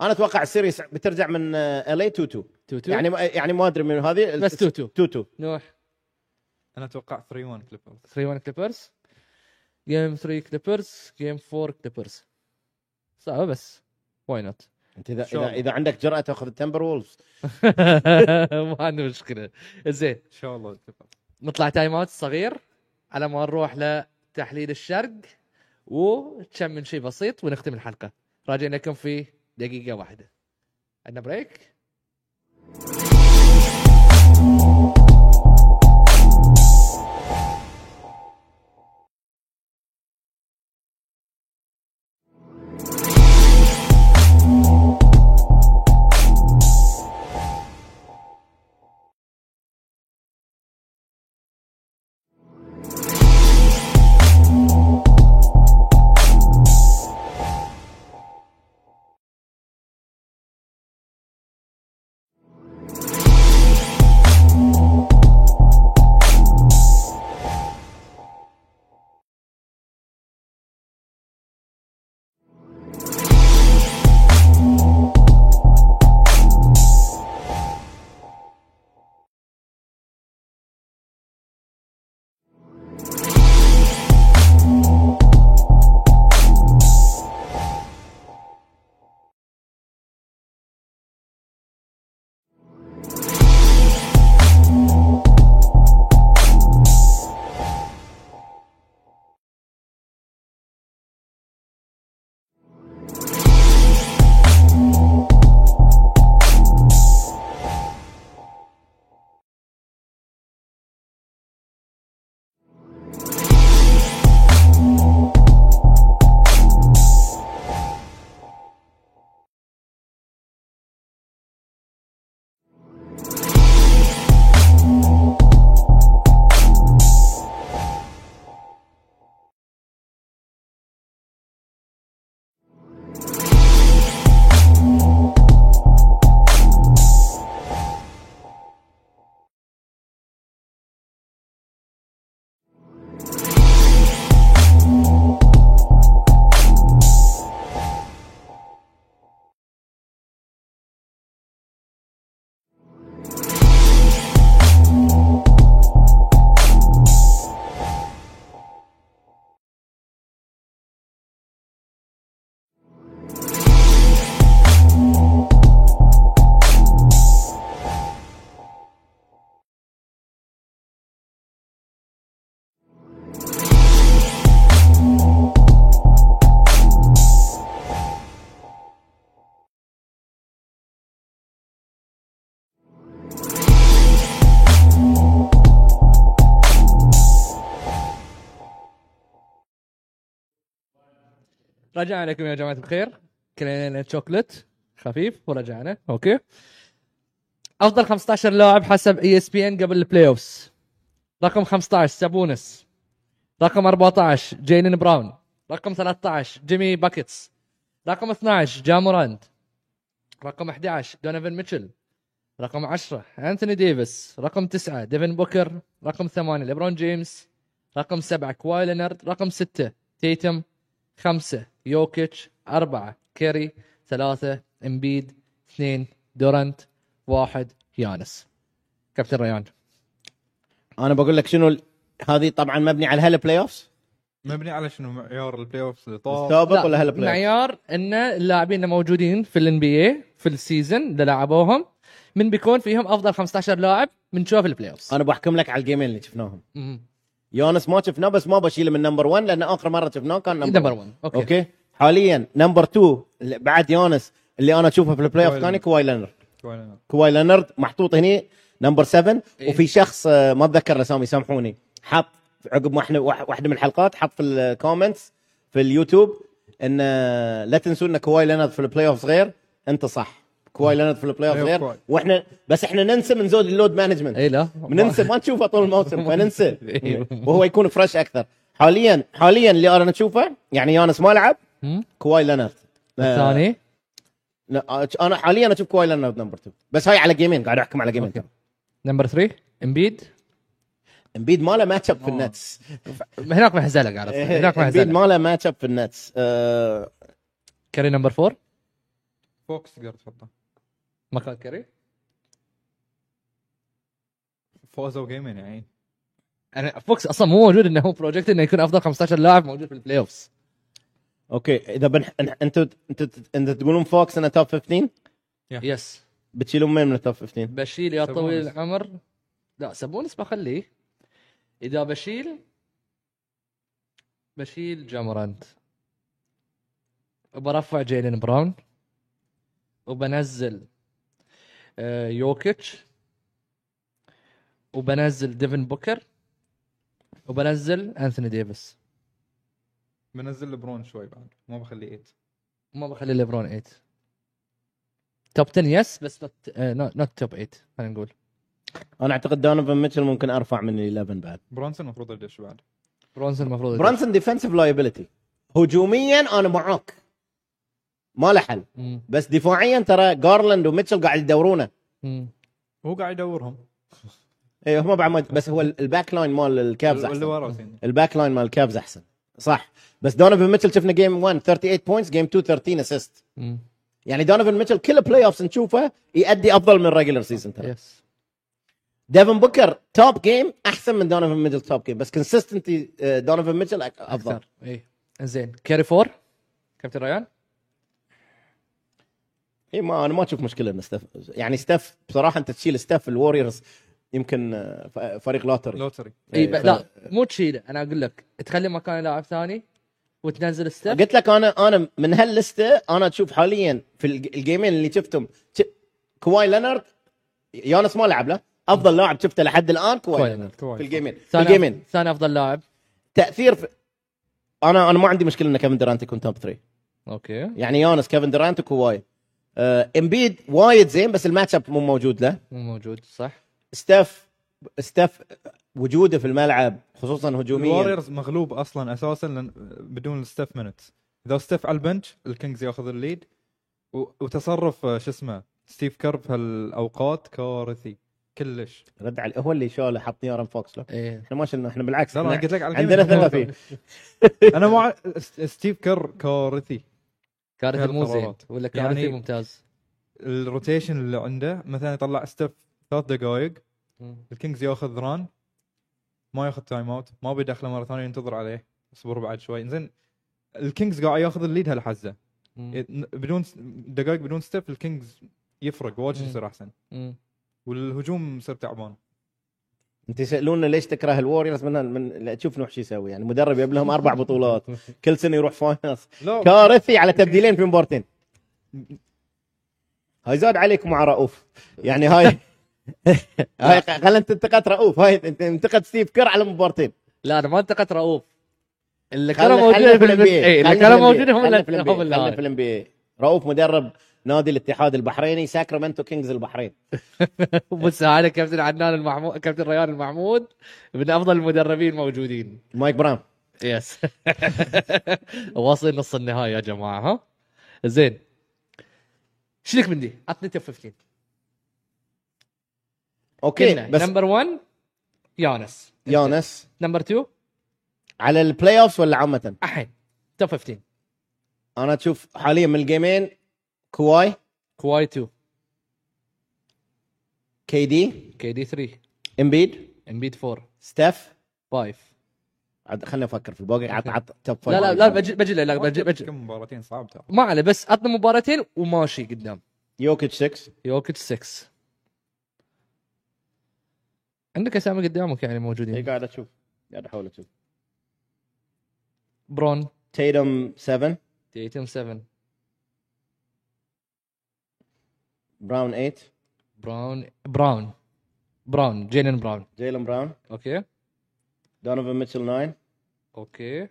S2: انا اتوقع السيريس بترجع من آه، ال اي 2 2
S1: 2 2
S2: يعني ما- يعني ما ادري من هذه
S1: بس 2 2
S2: 2 2
S1: نروح
S3: انا اتوقع 3 1 كليبرز
S1: 3 1 كليبرز جيم 3 كليبرز جيم 4 كليبرز صعبه بس واي نوت
S2: انت اذا
S3: إن شاء
S2: اذا,
S3: الله.
S2: إذا عندك جرأه تاخذ التمبر وولفز
S1: ما عندي مشكله زين
S3: ان شاء الله كليبرز
S1: نطلع تايم اوت صغير على ما نروح لتحليل الشرق وكم من شيء بسيط ونختم الحلقه راجعين لكم في دقيقه واحده عندنا بريك رجعنا لكم يا جماعه الخير كلينا شوكلت خفيف ورجعنا اوكي افضل 15 لاعب حسب E اي اس بي ان قبل البلاي اوفس رقم 15 سابونس رقم 14 جيلين براون رقم 13 جيمي باكيتس رقم 12 جاموراند رقم 11 دونيفن ميتشل رقم 10 انثوني ديفيس رقم 9 ديفن بوكر رقم 8 ليبرون جيمس رقم 7 كواي لينارد رقم 6 تيتم خمسة يوكيتش أربعة كيري ثلاثة امبيد اثنين دورانت واحد يانس كابتن ريان
S2: انا بقول لك شنو ال- هذه طبعا مبني على هلا بلاي اوفز
S3: مبني على شنو معيار البلاي اوفز اللي طاف
S2: السابق ولا هلا بلاي أوفز؟
S1: معيار ان اللاعبين اللي موجودين في الان بي اي في السيزون اللي لعبوهم من بيكون فيهم افضل 15 لاعب بنشوف البلاي اوف
S2: انا بحكم لك على الجيمين اللي شفناهم يونس ما شفناه بس ما بشيله من نمبر 1 لان اخر مره شفناه كان نمبر
S1: نمبر
S2: 1
S1: 1
S2: اوكي,
S1: اوكي
S2: أوكي. حاليا نمبر 2 بعد يونس اللي انا اشوفه في البلاي اوف
S3: كواي
S2: الثاني كواي
S3: لينارد.
S2: لينارد
S3: كوينر.
S2: كواي لينارد محطوط هنا نمبر 7
S1: إيه.
S2: وفي شخص آه، ما اتذكر اسامي سامحوني حط عقب ما احنا واح- واحده من الحلقات حط في الكومنتس في اليوتيوب ان آه، لا تنسوا ان كواي لينارد في البلاي اوف غير انت صح كواي لينارد في البلاي اوف
S3: أيوة،
S2: غير
S3: كواي.
S2: واحنا بس احنا ننسى من زود اللود مانجمنت
S1: اي إيه، لا
S2: بننسى ما نشوفه طول الموسم فننسى
S1: إيه.
S2: وهو يكون فريش اكثر حاليا حاليا اللي انا اشوفه يعني يانس ما لعب
S1: مم.
S2: كواي لينارد آه،
S1: الثاني
S2: لا، آه، أش- انا حاليا اشوف كواي لينارد نمبر 2 بس هاي على جيمين قاعد احكم على جيمين
S1: أوكي. نمبر 3 امبيد
S2: امبيد ما له ماتش اب في
S1: آه.
S2: النتس
S1: هناك بحزلك عرفت هناك
S2: امبيد
S1: بحزلك
S2: إيه، ما له ماتش اب في النتس آه،
S1: كاري نمبر 4
S3: فوكس قاعد تحطه
S1: مكان كاري
S3: فوزوا جيمين يعني
S1: انا فوكس اصلا مو موجود انه هو بروجكت انه يكون افضل 15 لاعب موجود في البلاي اوفز
S2: اوكي اذا بنح... إن- انتوا انتوا انتوا تقولون فوكس انه توب 15
S1: يس
S2: بتشيلون مين من التوب 15
S1: بشيل يا
S3: سابونس.
S1: طويل العمر لا سابونس بخليه اذا بشيل بشيل جامرانت برفع جيلين براون وبنزل آه، يوكيتش وبنزل ديفن بوكر وبنزل انثوني ديفيس
S3: بنزل لبرون شوي بعد ما بخليه 8
S1: ما بخلي ليبرون 8 توب 10 يس بس نوت توب 8 خلينا نقول
S2: انا اعتقد دونوفن ميتشل ممكن ارفع من ال 11 بعد
S3: برونسون المفروض يدش بعد
S1: برونسون المفروض يدش.
S2: برانسون ديفنسيف لايبيلتي هجوميا انا معاك ما له حل
S1: مم.
S2: بس دفاعيا ترى جارلاند وميتشل قاعد يدورونه
S1: مم.
S3: هو قاعد يدورهم
S2: اي إيه، هم بعد ما بس هو ال- الباك لاين مال الكابز
S3: اللي
S2: احسن
S3: ورا زين.
S2: الباك لاين مال الكابز احسن صح بس دونوفن ميتشل شفنا جيم 1 38 بوينتس جيم 2 13 اسيست
S1: مم.
S2: يعني دونوفن ميتشل كل بلاي اوفز نشوفه يؤدي افضل من ريجلر سيزون ترى
S1: يس
S2: ديفن بوكر توب جيم احسن من دونوفن ميتشل توب جيم بس كونسستنتي دونوفن ميتشل أك- افضل
S1: اكثر اي إيه. زين كاري فور كابتن ريان
S2: اي إيه، ما انا ما اشوف مشكله ان ستاف يعني ستاف بصراحه انت تشيل ستاف الوريورز يمكن آه، ف- فريق لوتري
S3: لوتري
S1: اي
S2: ف-
S1: إيه، لا مو تشيله انا اقول لك تخلي مكان لاعب ثاني وتنزل ستيب
S2: قلت لك انا انا من هاللسته انا اشوف حاليا في الج- الجيمين اللي شفتهم ش- كواي لينارد يونس ما لعب له افضل لاعب شفته لحد الان كواي,
S1: كواي
S2: لينارد
S3: لينارد.
S2: في الجيمين في
S1: ثاني
S2: الجيمين
S1: ثاني افضل لاعب
S2: تاثير في انا انا ما عندي مشكله ان كيفن دورانت يكون توب 3
S1: اوكي
S2: يعني يونس كيفن دورانت وكواي آه، امبيد وايد زين بس الماتش اب مو موجود له
S1: مو موجود صح
S2: ستاف ستاف وجوده في الملعب خصوصا هجوميا
S3: الوريورز مغلوب اصلا اساسا لأن بدون ستيف مينت اذا ستيف على البنش الكينجز ياخذ الليد و- وتصرف آه، شو اسمه ستيف كير بهالاوقات كارثي كلش
S2: رد عليه هو اللي شاله حط يارن فوكس له
S1: ايه
S2: احنا ما شلنا احنا بالعكس
S3: لا لا،
S2: إحنا
S3: قلت لك على
S2: عندنا
S3: الجيمين.
S2: ثلاثين
S3: انا مع س- ستيف كير كارثي
S1: كارثي مو زين
S3: القرارات.
S1: ولا كارثي
S3: يعني-
S1: ممتاز
S3: الروتيشن اللي عنده مثلا يطلع ستيف ثلاث دقائق الكينجز ياخذ ران ما ياخذ تايم اوت ما بيدخله مره ثانيه ينتظر عليه اصبر بعد شوي زين الكينجز قاعد ياخذ الليد هالحزه
S1: مم.
S3: ي- بدون س- دقائق بدون ستيف الكينجز يفرق واجد
S1: مم.
S3: يصير احسن
S1: مم.
S3: والهجوم يصير تعبان
S2: انت يسالونا ليش تكره الوريورز من من لا، تشوف نوح شو يسوي يعني مدرب يجيب لهم اربع بطولات كل سنه يروح فاينلز
S3: لا
S2: كارثي على تبديلين في مبارتين هاي زاد عليك مع رؤوف يعني هاي هاي خلينا انت انتقدت رؤوف هاي انت انتقد ستيف كير على مبارتين
S1: لا انا ما انتقدت رؤوف اللي
S2: خلنا-
S1: كانوا موجودين
S2: خلنا
S1: في إيه،
S2: في ال NBA.
S1: اي اللي
S2: خلنا
S1: كانوا
S2: في ال
S1: موجودين
S2: NBA.
S1: هم
S2: خلنا
S1: اللي
S2: في ال
S1: هم
S2: NBA. خلنا في
S1: اللي
S2: الام رؤوف مدرب نادي الاتحاد البحريني ساكرامنتو كينجز البحرين
S1: بس هذا كابتن عدنان المحمود كابتن ريان المحمود من افضل المدربين الموجودين
S2: مايك براون
S1: يس واصلين نص النهائي يا جماعه ها زين شلك من دي عطني توب 15
S2: اوكي
S1: كنا
S2: بس
S1: نمبر 1 يانس
S2: يونس
S1: نمبر 2
S2: على البلاي اوفز ولا عامه؟
S1: احد توب 15
S2: انا اشوف حاليا من الجيمين كواي
S1: كواي 2
S2: كي دي
S1: كي دي 3
S2: امبيد
S1: امبيد 4
S2: ستاف
S1: 5
S2: عاد خليني افكر في الباقي عط عط توب
S1: لا لا
S2: فايف.
S1: لا بجي بجي لا
S3: ما
S1: بجي
S3: أعتقد
S1: بجي
S3: كم مباراتين صعب ترى
S1: ما عليه بس عطنا مباراتين وماشي قدام
S2: يوكيتش 6
S1: يوكيتش 6 عندك اسامي قدامك يعني
S2: اي
S1: موجودين
S2: قاعد اشوف قاعد احاول اشوف
S1: برون
S2: تيتم 7
S1: تيتم 7
S2: براون 8
S1: براون براون براون جيلين براون
S2: جيلن براون
S1: اوكي
S2: دونوفن ميتشل 9
S1: اوكي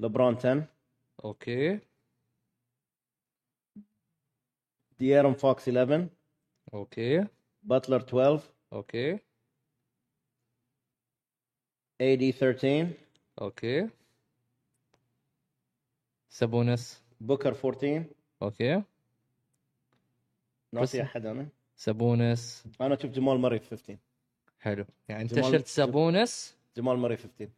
S2: لبرون 10
S1: اوكي
S2: ديارن فوكس 11
S1: اوكي
S2: باتلر 12
S1: اوكي
S2: اي دي 13
S1: اوكي سابونس
S2: بوكر 14
S1: اوكي بس-
S2: ناسي احد انا
S1: سابونس
S2: انا اشوف جمال مري في 15
S1: حلو يعني انت
S2: جمال-
S1: شلت سابونس
S2: جمال مري 15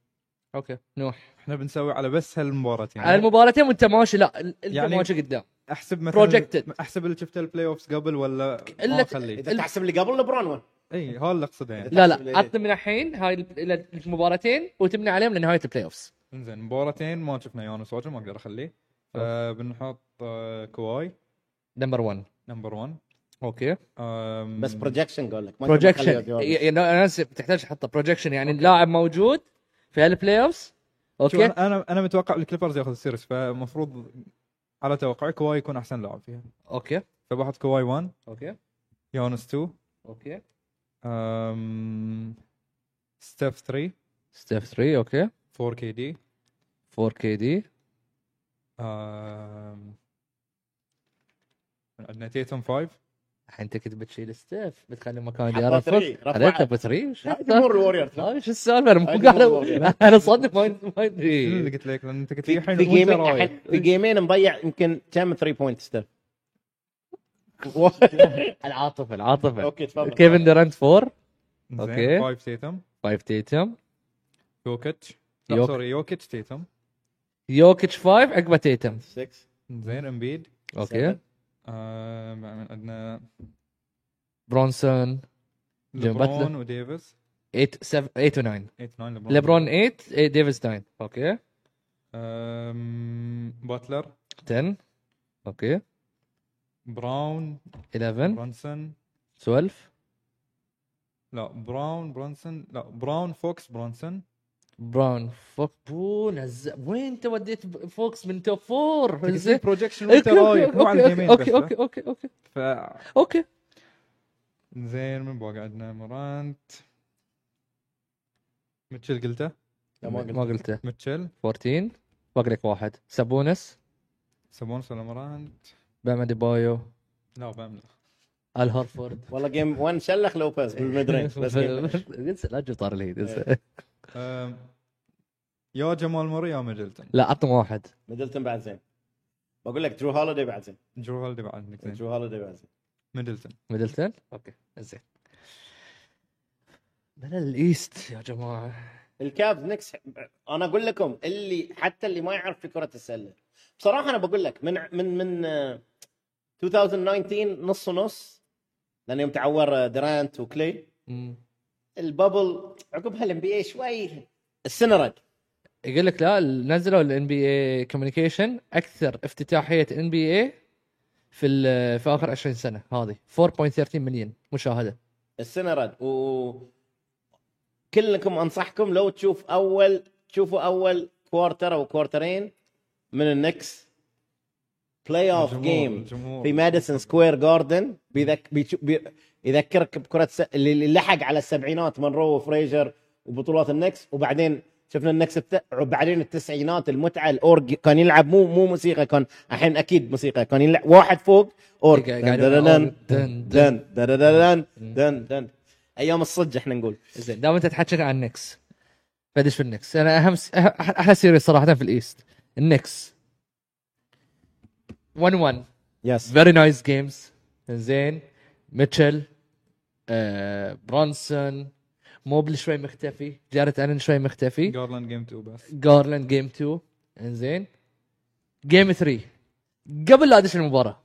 S1: اوكي نوح
S3: احنا بنسوي على بس هالمباراتين
S1: على المباراتين وانت ماشي لا انت
S3: يعني-
S1: ماشي قدام
S3: احسب مثلا
S1: projected.
S3: احسب اللي شفت البلاي اوفز قبل ولا
S1: إلا-
S3: ما اخليه
S2: اذا تحسب اللي قبل لبرون وين؟
S3: اي هذا اللي اقصده يعني
S1: لا
S2: تحسب
S1: لا
S2: لي-
S1: عطنا من الحين هاي ال- المباراتين وتمنع عليهم لنهايه البلاي اوفز
S3: انزين مباراتين ما شفنا يونس واجد ما اقدر اخليه فبنحط آه، كواي
S1: نمبر 1
S3: نمبر 1
S1: اوكي
S3: آم،
S2: بس بروجكشن قول لك ما تبي تخلي
S1: بروجكشن
S2: جواب.
S1: انا آسف، تحتاج تحط بروجكشن يعني اللاعب موجود في البلاي اوفز
S3: شوف
S1: اوكي
S3: انا انا- انا متوقع الكليبرز ياخذ السيريس فمفروض على توقعي كواي يكون احسن لاعب فيها
S1: اوكي
S3: فبحط كواي 1
S1: اوكي
S3: يونس 2
S1: اوكي
S3: أم... ستيف 3
S1: ستيف 3 اوكي
S3: 4 كي دي
S1: 4 كي دي
S3: أم... عندنا تيتم 5
S1: الحين انت كنت بتشيل ستيف بتخلي مكان
S2: حطه
S1: ديارن فوكس
S2: three، رفعها.
S1: خليته ب 3 وش
S2: لا،
S1: حطه؟
S2: جمهور الوريورز لا.
S1: هاي شو السالفه انا
S2: هاي إيه.
S1: مو
S2: جمهور
S1: قاعد
S2: يعني.
S1: انا صدق ما ما
S3: شنو اللي
S1: ادري
S3: قلت لك لان انت قلت لي
S2: في
S3: الحين
S2: في
S3: وأنت
S2: جيمين
S3: رايح.
S2: أحد- في جيمين مضيع يمكن كم 3 بوينت ستيف
S1: العاطفه العاطفه
S2: اوكي تفضل
S1: كيفن دورانت 4
S3: زين،
S1: أوكي.
S3: 5 تيتم
S1: 5 تيتم
S3: يوكيتش لا،
S1: يوك-
S3: سوري يوكيتش تيتم
S1: يوكيتش 5 عقبه تيتم
S2: 6
S3: زين امبيد
S1: اوكي
S3: أم... آه، عندنا
S1: برونسون جيم
S3: ليبرون
S1: باتلر.
S3: وديفيس
S1: 8 7 8 و 9
S3: 8 9 ليبرون
S1: ليبرون 8 إيه، ديفيس 9 اوكي
S3: أم... باتلر
S1: 10 اوكي
S3: براون
S1: 11
S3: برونسون
S1: 12
S3: لا براون برونسون لا براون فوكس برونسون
S1: براون فوك بو نز... وين انت وديت ب- فوكس من توب فور زين.
S3: بروجكشن وانت
S1: اوكي
S3: رايح مو على
S1: اوكي
S3: الجيمين
S1: اوكي
S3: بس،
S1: اوكي اوكي اوكي
S3: ف
S1: اوكي
S3: زين من باقي عندنا مورانت متشل قلته
S2: لا، ما قلت.
S1: ما قلته
S3: متشل
S1: 14 باقي لك واحد سابونس
S3: سابونس ولا مورانت
S1: بام بايو
S3: لا باملا
S1: ال هارفورد
S2: والله جيم 1 شلخ لوبيز بالميد رينج بس إيه. جيم-
S1: انسى لا تجيب طار الهيد انسى.
S3: أم، يا جمال موري يا ميدلتون
S1: لا عطهم واحد
S2: ميدلتون بعد زين بقول لك درو هوليدي بعد زين
S3: جو هالدي بعد عندك زين
S2: درو هوليدي بعد زين
S3: ميدلتون
S1: ميدلتون اوكي زين بلا الايست يا جماعه
S2: الكابز نكس انا اقول لكم اللي حتى اللي ما يعرف في كره السله بصراحه انا بقول لك من من من آه، 2019 نص ونص لان يوم تعور آه، درانت وكلي
S1: أمم.
S2: الببل عقبها الام بي اي شوي السنه رد
S1: يقول لك لا نزلوا الان بي اي كوميونيكيشن اكثر افتتاحيه ان بي اي في ال- في اخر 20 سنه هذه 4.13 مليون مشاهده
S2: السنه رد و كلكم انصحكم لو تشوف اول تشوفوا اول كوارتر او كوارترين من النكس بلاي اوف
S3: الجمهور-
S2: جيم
S3: الجمهور.
S2: في ماديسون سكوير جاردن بيذك... بيشو... بي... يذكرك بكره س... اللي اللي لحق على السبعينات مونرو وفريجر وبطولات النكس وبعدين شفنا النكس الت... بعدين التسعينات المتعه الاورج كان يلعب مو مو موسيقى كان الحين اكيد موسيقى كان يلعب واحد فوق اورج
S1: إيه، قاعد-
S2: دن
S1: قاعد يلعب
S2: دن دن
S1: أورج.
S2: دن دن دن
S1: مم.
S2: دن دن ايام الصج احنا نقول
S1: زين دام انت تحكي عن النكس فدش في النكس انا اهم س... أح- احلى سيريز صراحه في الايست النكس 1 1
S2: يس
S1: فيري نايس جيمز زين ميتشل آه، برونسون موبل شوي مختفي جارت الن شوي مختفي
S3: جارلاند جيم 2 بس
S1: جارلاند جيم 2 انزين جيم 3 قبل لا ادش المباراه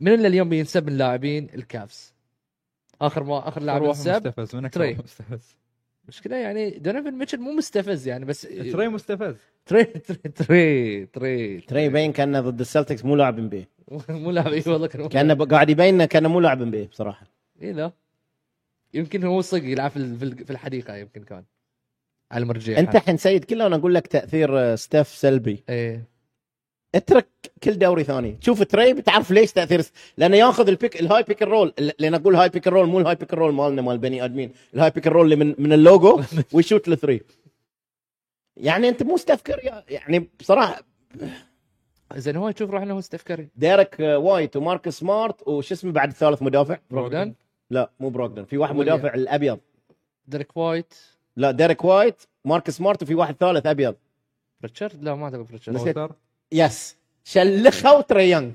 S1: من اللي اليوم بينسب من اللاعبين الكافز اخر ما اخر لاعب
S3: اروح
S1: انسب
S3: مستفز من
S1: تري.
S3: اكثر واحد مستفز
S1: مشكله يعني دونيفن ميتشل مو مستفز يعني بس تري
S3: تري مستفز
S1: تري تري تري
S2: تري يبين كانه ضد السلتكس مو لاعب ام بي
S1: مو لاعب إي والله كان
S2: كانه ب- قاعد يبين إنه كانه مو لاعب ام بي بصراحه
S1: اي إيه لا يمكن هو صدق يلعب في ال- في ال- في الحديقه يمكن كان على المرجيحه
S2: انت الحين سيد كله وانا اقول لك تاثير آه، ستاف سلبي
S1: ايه
S2: اترك كل دوري ثاني شوف تري بتعرف ليش تاثير لانه ياخذ البيك الهاي بيك الرول لان اقول هاي بيك الرول مو الهاي بيك الرول مالنا مال بني ادمين الهاي بيك الرول اللي من من اللوجو ويشوت الثري يعني انت مو استفكر يا- يعني بصراحه
S1: زين هو يشوف روحنا هو ستيف كاري
S2: ديريك آه، وايت ومارك سمارت وش اسمه بعد الثالث مدافع
S1: بروغدان
S2: لا مو بروغدن في واحد
S1: ويليام.
S2: مدافع الابيض
S1: دريك وايت
S2: لا ديريك وايت مارك سمارت وفي واحد ثالث ابيض
S1: ريتشارد لا ما اعتقد ريتشارد
S3: هوسر
S2: يس شلخوا تري يونغ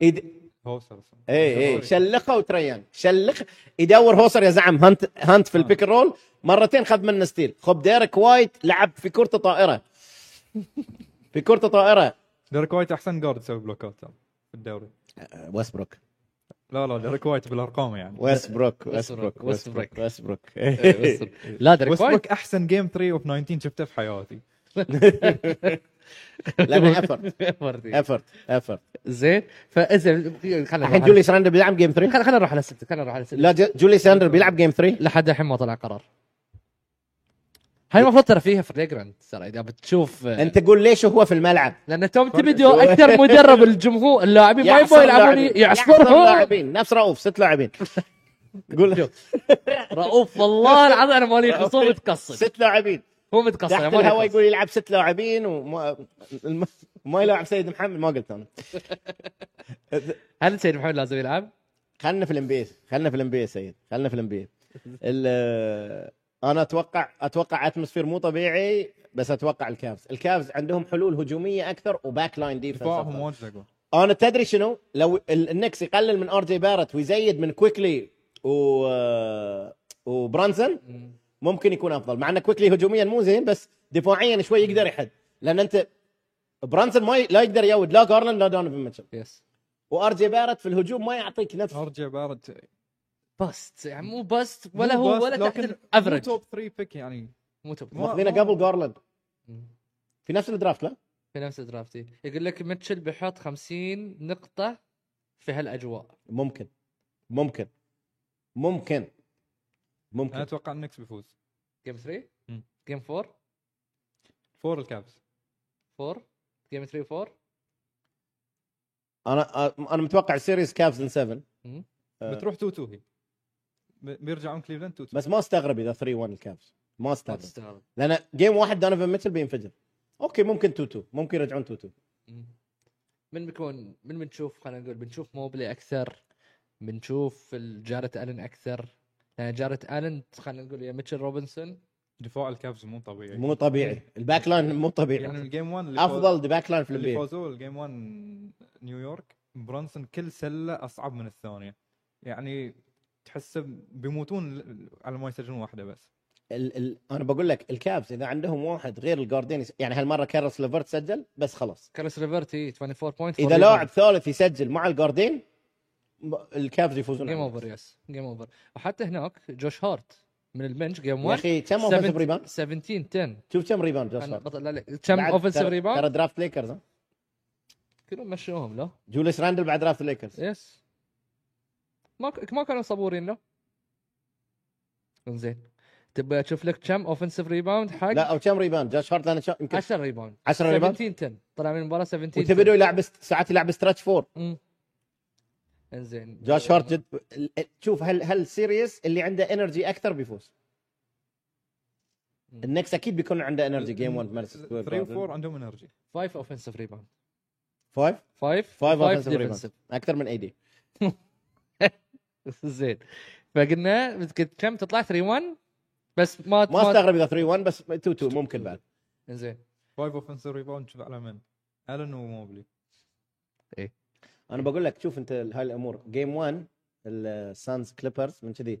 S2: يد-
S3: هوسر اسمه.
S2: اي اي شلخه إيه، وتريان شلخ يدور هوسر يا زعم هانت هانت في البيك رول مرتين خذ منه ستيل خب ديريك وايت لعب في كرة طائرة في كرة طائرة
S3: ديريك وايت احسن جارد يسوي بلوكات ترى في الدوري
S2: ويسبروك
S3: لا لا ديريك وايت بالارقام يعني
S2: ويسبروك
S1: ويسبروك،
S2: ويسبروك ويسبروك إيه،
S1: ويسبروك.
S2: ويسبروك
S1: إيه، لا دريك وايت
S3: ويسبروك احسن جيم 3 اوف 19 شفته في حياتي
S2: لانه effort.
S1: افرت
S2: افرت افرت
S1: زين فازين خلينا
S2: الحين
S1: نروح
S2: جولي ساندر بيلعب جيم
S1: على-
S2: 3
S1: خلينا نروح على السبت خلينا نروح على السبت
S2: لا ج- جولي ساندر بيلعب جيم 3
S1: لحد الحين ما طلع قرار هاي المفروض ترى فيها فليجرانت ترى اذا بتشوف
S2: انت قول ليش هو في الملعب
S1: لان توم تبدو اكثر مدرب الجمهور اللاعبين ما يبغوا يلعبون
S2: لاعبين.
S1: يعصرهم
S2: لاعبين نفس رؤوف ست لاعبين قول
S1: رؤوف والله العظيم انا مالي خصوم متقصد
S2: ست لاعبين
S1: هو متقصد
S2: تحت
S1: أنا مالي
S2: الهواء
S1: قصد.
S2: يقول يلعب ست لاعبين وما الم- ما يلعب سيد محمد ما قلت انا
S1: هل سيد محمد لازم يلعب؟
S2: خلنا في الانبي خلنا في الانبي سيد خلنا في الانبي انا اتوقع اتوقع اتموسفير مو طبيعي بس اتوقع الكافز الكافز عندهم حلول هجوميه اكثر وباك لاين
S3: دفاعهم
S2: ديفنس
S3: وايد زقوا
S2: انا تدري شنو لو ال- النكس يقلل من ار جي بارت ويزيد من كويكلي و وبرانسون ممكن يكون افضل مع ان كويكلي هجوميا مو زين بس دفاعيا شوي يقدر يحد لان انت برانسون ما ي... لا يقدر يود لا جارلاند لا دونيفن ميتشل
S1: يس
S2: وار جي بارت في الهجوم ما يعطيك نفس
S3: ارجع بارد
S1: باست يعني مو باست ولا
S3: مو
S1: هو
S3: باست،
S1: ولا تحت
S3: لكن مو
S1: الافرج
S3: توب 3 بيك يعني
S1: مو توب
S3: ما-
S2: ماخذينه قبل جارلاند في نفس الدرافت لا
S1: في نفس درافتي يقول لك ميتشل بيحط 50 نقطة في هالاجواء
S2: ممكن ممكن ممكن
S3: انا
S2: ممكن
S3: اتوقع النكس بيفوز
S1: جيم 3
S3: مم.
S1: جيم 4
S3: فور الكابز
S1: 4 جيم 3 4
S2: انا انا متوقع سيريز كافز ان 7
S1: مم.
S2: آه،
S3: بتروح 2 2 هي ب- بيرجعون كليفلاند 2 2
S2: بس ما استغرب اذا 3 1 الكافز ما
S1: ما
S2: استغرب
S1: تستغرب
S2: لان جيم واحد دونيفن ميتشل بينفجر اوكي ممكن 2 2 ممكن يرجعون 2 2
S1: مم. من بيكون من بنشوف خلينا نقول بنشوف موبلي اكثر بنشوف جارت الن اكثر لان جارت الن خلينا نقول يا ميتشل روبنسون
S3: دفاع الكابز مو طبيعي
S2: مو طبيعي الباك لاين مو
S3: إيه. يعني
S2: طبيعي
S3: الجيم 1 اللي فوز-
S2: افضل باك لاين في
S3: اللي
S2: البيت
S3: فازوا الجيم 1 نيويورك برونسون كل سله اصعب من الثانيه يعني تحسه بيموتون ل- على ما يسجلون واحده بس
S2: ال ال انا بقول لك الكابز اذا عندهم واحد غير الجاردين يس- يعني هالمره كارلس ليفرت سجل بس خلاص
S1: كارلس ريفرتي 24 بوينت
S2: اذا لاعب ثالث يسجل مع الجاردين م- الكابز يفوزون
S1: جيم
S2: على
S1: اوفر
S2: الناس.
S1: يس جيم اوفر وحتى هناك جوش هارت من البنش جيم
S2: يا
S1: 1
S2: اخي كم اوفنسيف ريباوند
S1: 17 10
S2: شوف كم ريباوند جوش
S1: أنا
S2: هارت.
S1: بطل لا لا كم
S2: بعد
S1: اوفنسيف
S2: ترى- ترى
S1: ريباوند
S2: درافت ليكرز ها؟
S1: كلهم مشوهم لا
S2: جوليس راندل بعد درافت ليكرز
S3: إيه،
S1: يس ما ك- ما كانوا صبورين لا زين تبى اشوف لك كم اوفنسيف ريباوند
S2: لا
S1: حق
S2: او كم ريباوند جوش هارت لأنه شا- يمكن
S1: 10 ريباوند
S2: 10 ريباوند
S1: 17 10 طلع من المباراه 17
S2: وتبدو يلعب است- ساعات يلعب ستريتش فور
S1: مم. انزين
S2: جوش هارت جد ال- ال- شوف هل هل سيريس اللي عنده انرجي اكثر بيفوز النكس اكيد بيكون عنده انرجي جيم 1 مارس
S3: 3 و 4 عندهم انرجي
S1: 5 اوفنسيف ريباوند
S2: 5
S1: 5
S2: 5 اوفنسيف ريباوند اكثر من اي دي
S1: زين فقلنا قلت كم تطلع 3 1 بس ما
S2: ما استغرب اذا 3 1 بس 2 2 ممكن بعد
S1: زين
S3: 5 اوفنسيف ريباوند شوف على من؟ الن وموبلي
S2: انا بقول لك شوف انت هاي الامور جيم 1 السانز كليبرز من كذي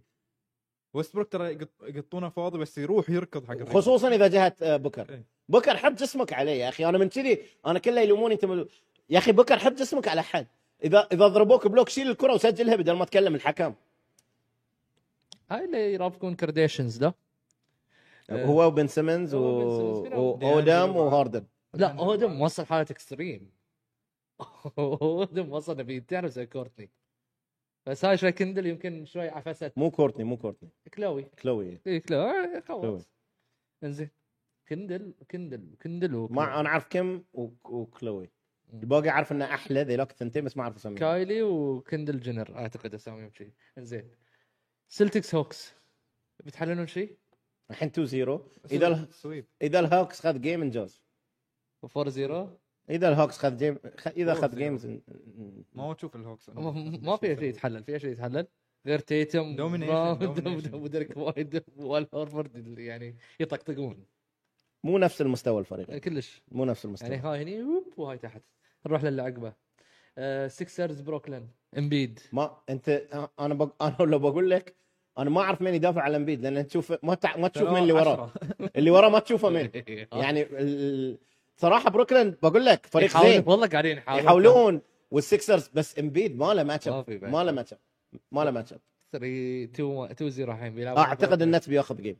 S3: ويستبروك ترى يقط- يقطونه فاضي بس يروح يركض حق الريباوند.
S2: خصوصا اذا جهت آه، بوكر
S3: إيه.
S2: بوكر حط جسمك عليه يا اخي انا من كذي انا كله يلوموني انت من- يا اخي بوكر حط جسمك على حد اذا اذا ضربوك بلوك شيل الكره وسجلها بدل ما تكلم الحكم
S1: هاي اللي يرافقون كارديشنز ده آه.
S2: هو وبن سيمنز و...
S1: هو وبن سيمنز بيلعب.
S2: واودام وهاردن
S1: لا اودم وصل حاله اكستريم اودم وصل بينتهر زي كورتني بس هاي شوي كندل يمكن شوي عفست
S2: مو كورتني مو كورتني
S1: كلاوي
S2: كلوي
S1: اي كلاوي
S2: كلوي
S1: آه، خلاص انزين كندل كندل كندل و
S2: ما انا اعرف كم و... وكلوي
S1: مم.
S2: الباقي اعرف انه احلى ذيلاك الثنتين بس ما اعرف اسميهم
S1: كايلي وكندل جنر اعتقد اساميهم شيء انزين سلتكس هوكس بتحللون شيء
S2: الحين 2 0 اذا ال-
S3: سويب
S2: اذا الهوكس خذ جيم انجاز
S1: 4 0
S2: اذا الهوكس خذ جيم خ... اذا
S3: Four
S2: خذ
S3: zero.
S2: جيمز
S3: ما هو تشوف الهوكس
S1: ما في شيء يتحلل في شيء يتحلل غير تيتم
S3: Domination،
S1: براون،
S3: domination.
S1: وديريك وايد وال هورفورد يعني يطقطقون
S2: مو نفس المستوى الفريق
S1: كلش
S2: مو نفس
S1: يعني
S2: المستوى
S1: هاي هني ووب وهاي تحت نروح للي عقبه آه سيكسرز بروكلين امبيد
S2: ما انت انا بق... انا لو بقول لك انا ما اعرف مين يدافع على امبيد لان تشوف ما تع... ما تشوف مين اللي وراه اللي وراه ما تشوفه مين
S1: آه.
S2: يعني ال- صراحه بروكلين بقول لك فريق
S1: يحاولون-
S2: زين
S1: والله قاعدين يحاولون
S2: يحاولون والسيكسرز بس امبيد ما له ماتش
S1: ما
S2: اب
S1: في بعد.
S2: ما له ماتش اب ما له ماتش اب
S1: 3 2 2 0 الحين بيلعبوا
S2: اعتقد النتس بياخذ جيم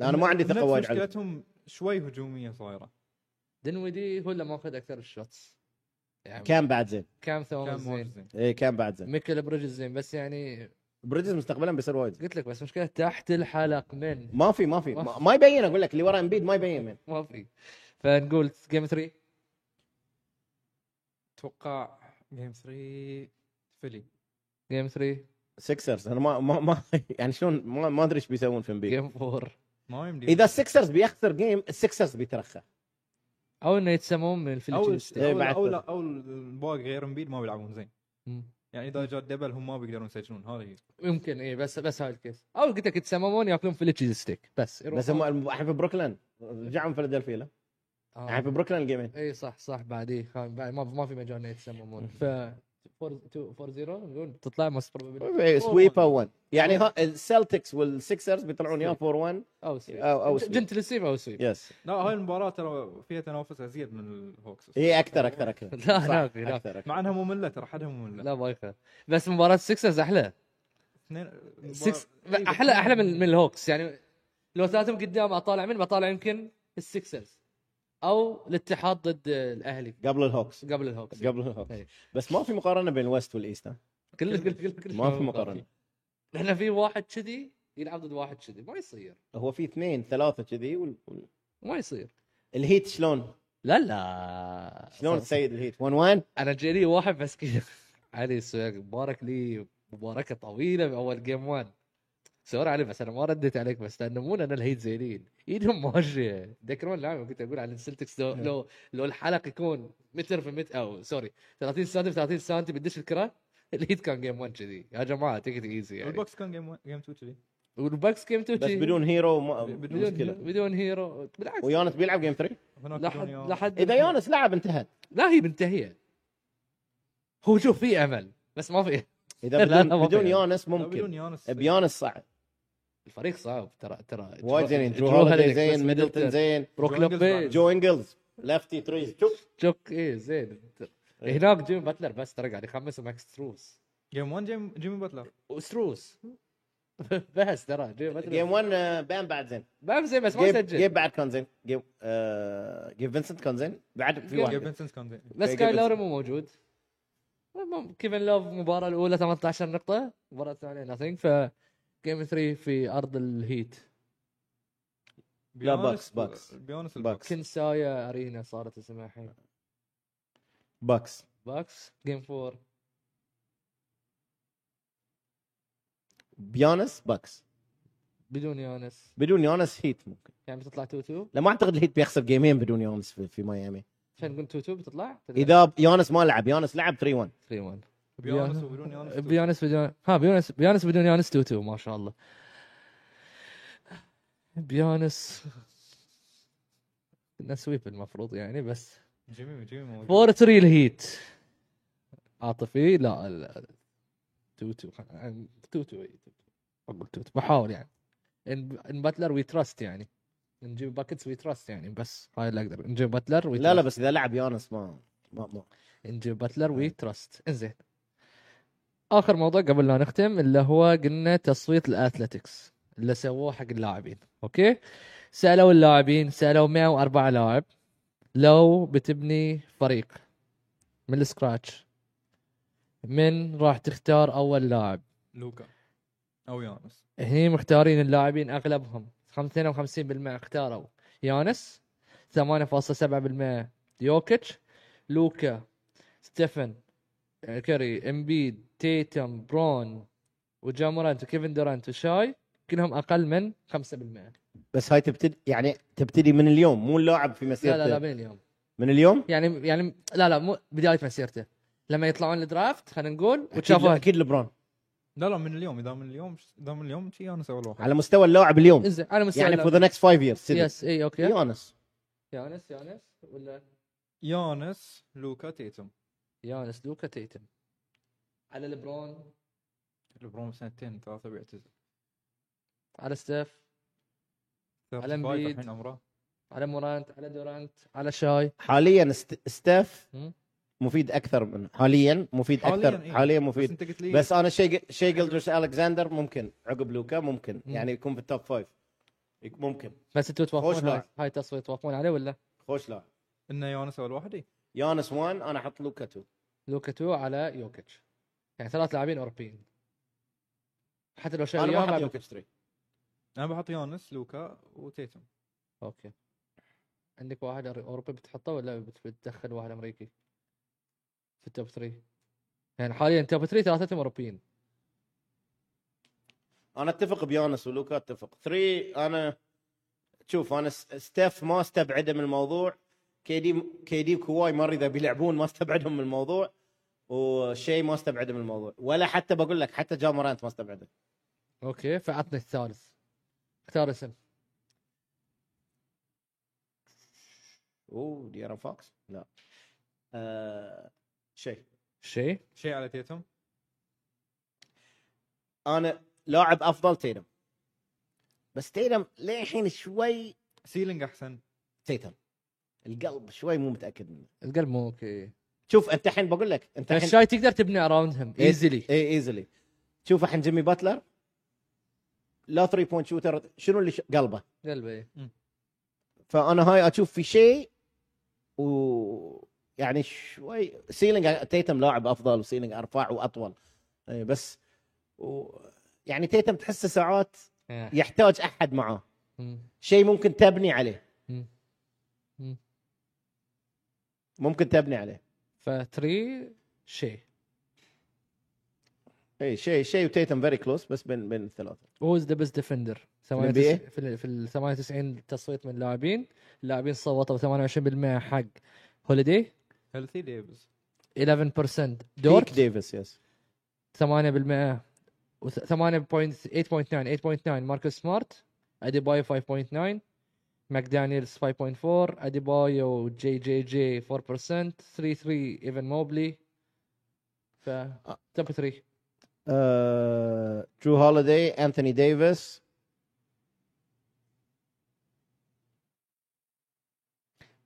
S2: انا ما عندي ثقه
S3: النتس
S2: وايد عليه
S3: مشكلتهم شوي هجوميه صايره
S1: دنودي هو اللي ماخذ اكثر الشوتس يعني
S2: كان بعد زين
S1: كام ثوم
S3: كان
S1: زين
S3: موجزين
S2: ايه كان بعد زين
S1: ميكل بريدجز زين بس يعني
S2: بريدجز مستقبلا بيصير وايد زين.
S1: قلت لك بس مشكله تحت الحلق من
S2: ما في ما في ما- ما يبين اقول لك اللي ورا امبيد ما يبين من
S1: ما في فنقول جيم 3
S3: اتوقع جيم 3 فيلي
S1: جيم 3
S2: سيكسرز انا ما ما, ما يعني شلون ما, ما ادري ايش بيسوون في امبيد
S1: جيم 4
S3: ما يمدي
S2: اذا السكسرز بيخسر جيم السكسرز بيترخى
S1: او انه يتسمون من
S3: او
S1: الفيليجز
S2: إيه
S3: او
S2: بعد
S3: او, أو الباقي غير امبيد ما بيلعبون زين يعني اذا جاء دبل هم ما بيقدرون يسجلون هذا هي
S1: يمكن اي بس بس هاي الكيس او قلت لك يتسممون ياكلون فيليجز ستيك بس يروحون.
S2: بس هم الحين في بروكلين رجعوا من فيلادلفيا لا؟
S1: آه.
S2: الحين يعني في بروكلين الجيمين
S1: اي صح صح بعد اي خا- بعد ما ما في مجال انه يتسممون ف 4 0 نقول تطلع مصر
S2: سويبا 1 يعني ها السلتكس والسكسرز بيطلعون يا 4 1
S1: او سويب
S2: او او سويب.
S1: جنت ريسيف او سويب
S2: يس
S3: لا هاي المباراه ترى فيها تنافس ازيد من الهوكس
S2: اي اكثر اكثر اكثر
S1: لا،
S2: صح،
S1: لا في، لا.
S2: اكثر اكثر
S3: مع انها ممله ترى حدها ممله
S1: لا بايخه بس مباراه السكسرز احلى
S3: اثنين إيه،
S1: سكس
S3: مباراة-
S1: احلى احلى من من الهوكس يعني لو ثلاثهم قدام اطالع من بطالع يمكن السكسرز او الاتحاد ضد الاهلي
S2: قبل الهوكس
S1: قبل الهوكس
S2: قبل الهوكس
S1: إيه.
S2: بس ما في مقارنه بين الويست والايست ها؟
S1: كل كل كل كل
S2: ما في مقارنه
S1: احنا في واحد كذي يلعب ضد واحد كذي ما يصير
S2: هو في اثنين ثلاثه كذي وال- وال-
S1: ما يصير
S2: الهيت شلون
S1: لا لا
S2: شلون تسيد الهيت 1 1
S1: انا جاني واحد مسكين علي السويق مبارك لي مباركه طويله باول جيم 1 سوري علي بس انا ما رديت عليك بس لانه مو انا الهيت زينين ايدهم ماشيه تذكرون اللعبه كنت اقول عن السلتكس لو لو, لو الحلق يكون متر في متر او سوري 30 سم في 30 سم بتدش الكره الهيت كان جيم 1 كذي يا جماعه تكت ايزي يعني
S3: البوكس كان جيم جيم 2 كذي
S1: والباكس جيم 2
S2: بس بدون هيرو ما-
S3: بدون-
S1: بدون,
S2: مشكله
S1: بدون هيرو بالعكس
S2: ويونس بيلعب جيم 3
S3: هناك
S1: لحد
S3: بدون-
S1: لحد
S2: اذا يونس لعب انتهت
S1: لا هي منتهيه هو شوف في امل بس ما في
S2: اذا
S1: لا، لا،
S2: بدون
S1: ما
S2: بدون
S1: في. يعني.
S2: يونس
S3: لا، بدون
S2: ممكن إيه،
S3: يانس
S2: بيونس صعب
S1: الفريق صعب ترى ترى
S2: وايد زينين درو
S1: درو
S2: هوليدي
S1: هوليديك
S2: زين
S1: بس
S2: ميدلتون
S1: ميدلتون،
S2: زين
S1: بروك
S3: جو إنجلز
S1: لوبيز
S3: بعد.
S2: جو انجلز لفتي تريز شوف
S1: جوك ايه زين
S2: إيه.
S1: هناك جيم باتلر بس ترى قاعد يخمس معك ستروس
S3: جيم 1 جيم جيمي باتلر
S1: وستروس بس ترى جيم
S2: جيم
S1: باتلر
S2: 1 آه، بام بعد زين
S1: ما زين بس ما
S2: جيب
S1: يسجل
S2: جيب بعد كان زين جيب آه، جيب فينسنت كان زين بعد
S1: جيب-
S2: في
S3: جيم
S2: واحد
S3: فينسنت كان زين
S1: بس
S2: جيب-
S1: كاي
S2: جيب-
S1: لوري مو موجود المهم، كيفن لوف المباراة الأولى 18 نقطة، المباراة الثانية ناثينج ف جيم 3 في أرض الهيت،
S2: لا،
S3: بيانس-
S2: باكس- باكس.
S3: بيانس
S2: باكس.
S3: الباكس
S1: كنسايا أرينا صارت اسمها الحين،
S2: باكس
S1: باكس جيم 4
S2: بيانس باكس
S1: بدون يونس
S2: بدون يونس هيت ممكن
S1: يعني بتطلع 2 2
S2: لا ما اعتقد الهيت بيخسر جيمين بدون يونس في, في ميامي
S1: عشان نقول 2 2 بتطلع
S2: اذا يونس ما لعب يونس لعب 3 1
S1: 3 1
S3: بيونس وبدون يونس تو.
S1: بيونس بدون ها بيونس بيونس بدون يونس 2 2 ما شاء الله بيونس كنا سويب المفروض يعني بس
S3: جيمي جيمي موجود.
S1: 4 3 الهيت عاطفي لا ال- توتو عن- توتو إي، توتو. اقول توتو بحاول يعني ان إن باتلر وي تراست يعني نجيب باكتس وي تراست يعني بس هاي اللي اقدر نجيب باتلر وي
S2: لا لا بس اذا لعب يونس ما ما, ما.
S1: نجيب باتلر وي تراست انزين اخر موضوع قبل لا نختم اللي هو قلنا تصويت الاثلتكس اللي سووه حق اللاعبين اوكي سالوا اللاعبين سالوا 104 لاعب لو بتبني فريق من السكراتش من راح تختار اول لاعب
S3: لوكا او يونس
S1: هني مختارين اللاعبين اغلبهم خم- 52% اختاروا يانس 8.7% يوكيتش لوكا ستيفن آه، كاري امبيد تيتم برون وجامورانت وكيفن دورانت وشاي كلهم اقل من 5% لا
S2: بس هاي تبتدي يعني تبتدي من اليوم مو اللاعب في مسيرته
S1: لا لا بين اليوم
S2: من اليوم
S1: يعني يعني لا لا مو بدايه مسيرته لما يطلعون الدرافت خلينا نقول
S2: اكيد,
S1: وتشافوها
S2: أكيد لبرون
S3: لا لا من اليوم اذا من اليوم اذا من اليوم شي يونس اول واحد
S2: على مستوى اللاعب اليوم
S1: إنزين، على مستوى
S2: يعني فور
S1: اللعبة.
S2: ذا نكست 5 ييرز
S1: يس اي اوكي
S2: يونس
S1: إيه، يانس يانس ولا
S3: يونس لوكا تيتم
S1: يانس لوكا تيتم على لبرون
S3: لبرون سنتين ثلاثه بيعتزل
S1: على ستيف على
S3: 35
S1: إمبيد.
S3: الحين عمره
S1: على مورانت على دورانت على شاي
S2: حاليا ست- ستاف
S1: هم؟
S2: مفيد اكثر من حاليا مفيد
S3: حالياً
S2: اكثر
S3: إيه.
S2: حاليا
S3: بس
S2: مفيد
S3: انت قلت لي
S2: بس انا شيء شيء جلدرس الكساندر ممكن عقب لوكا ممكن
S1: مم.
S2: يعني يكون في التوب فايف يك- ممكن
S1: بس انتوا
S2: خوش
S1: توافقون هاي,
S2: لاعب.
S1: هاي التصويت توافقون عليه ولا
S2: خوش لاعب
S3: انه يونس اول واحد إي.
S2: يانس 1 انا احط لوكا 2
S1: لوكا تو على يوكيتش يعني ثلاث لاعبين اوروبيين حتى لو شاي
S2: انا ما احط
S1: اليوم
S2: لوكا 3
S3: انا بحط يونس لوكا وتيتم
S1: اوكي عندك واحد أر- اوروبي بتحطه ولا بت- بتدخل واحد امريكي في التوب 3 يعني حاليا توب 3 ثلاثتهم اوروبيين
S2: انا اتفق بيانس ولوكا اتفق 3 انا شوف انا س- ستيف ما استبعده من الموضوع كيدي كيدي وكواي مر اذا بيلعبون ما استبعدهم من الموضوع وشي ما استبعده من الموضوع ولا حتى بقول لك حتى جامورانت ما استبعده
S1: اوكي فعطني الثالث اختار اسم
S2: اوه ديرا فوكس لا آه شيء
S1: شيء
S3: شيء على تيتم
S2: انا لاعب افضل تيتم بس تيتم للحين شوي
S3: سيلينج احسن
S2: تيتم القلب شوي مو متاكد منه
S1: القلب مو اوكي
S2: شوف انت الحين بقول لك انت الحين
S1: الشاي تقدر تبني اراوندهم
S2: إيه.
S1: ايزلي
S2: اي ايزلي شوف الحين جيمي باتلر لا 3 بوينت شوتر شنو اللي ش- قلبه
S1: قلبي
S2: فانا هاي اشوف في شيء و يعني شوي سيلينج تيتم لاعب افضل وسيلينج ارفع واطول إي بس و... يعني تيتم تحسه ساعات
S1: آه.
S2: يحتاج احد معاه
S1: مم.
S2: شيء ممكن تبني عليه
S1: مم. مم.
S2: ممكن تبني عليه
S1: فتري شيء
S2: اي إيه، شيء شيء وتيتم فيري كلوز بس بين بين الثلاثه
S1: هو از ذا بيست ديفندر
S2: NBA?
S1: في ال- في ال 98 تصويت من اللاعبين اللاعبين صوتوا 28% حق هوليدي
S3: هيلثي ديفيز
S1: 11%
S2: بيك
S1: دورت
S2: ديفيس يس
S1: 8% و 8.8.9 8.9 ماركوس سمارت اديبايو 5.9 ماكدانيلز 5.4 اديبايو جي جي جي 4% 3 3 ايفن موبلي ف توب 3
S2: آه، درو هوليدي انثوني ديفيس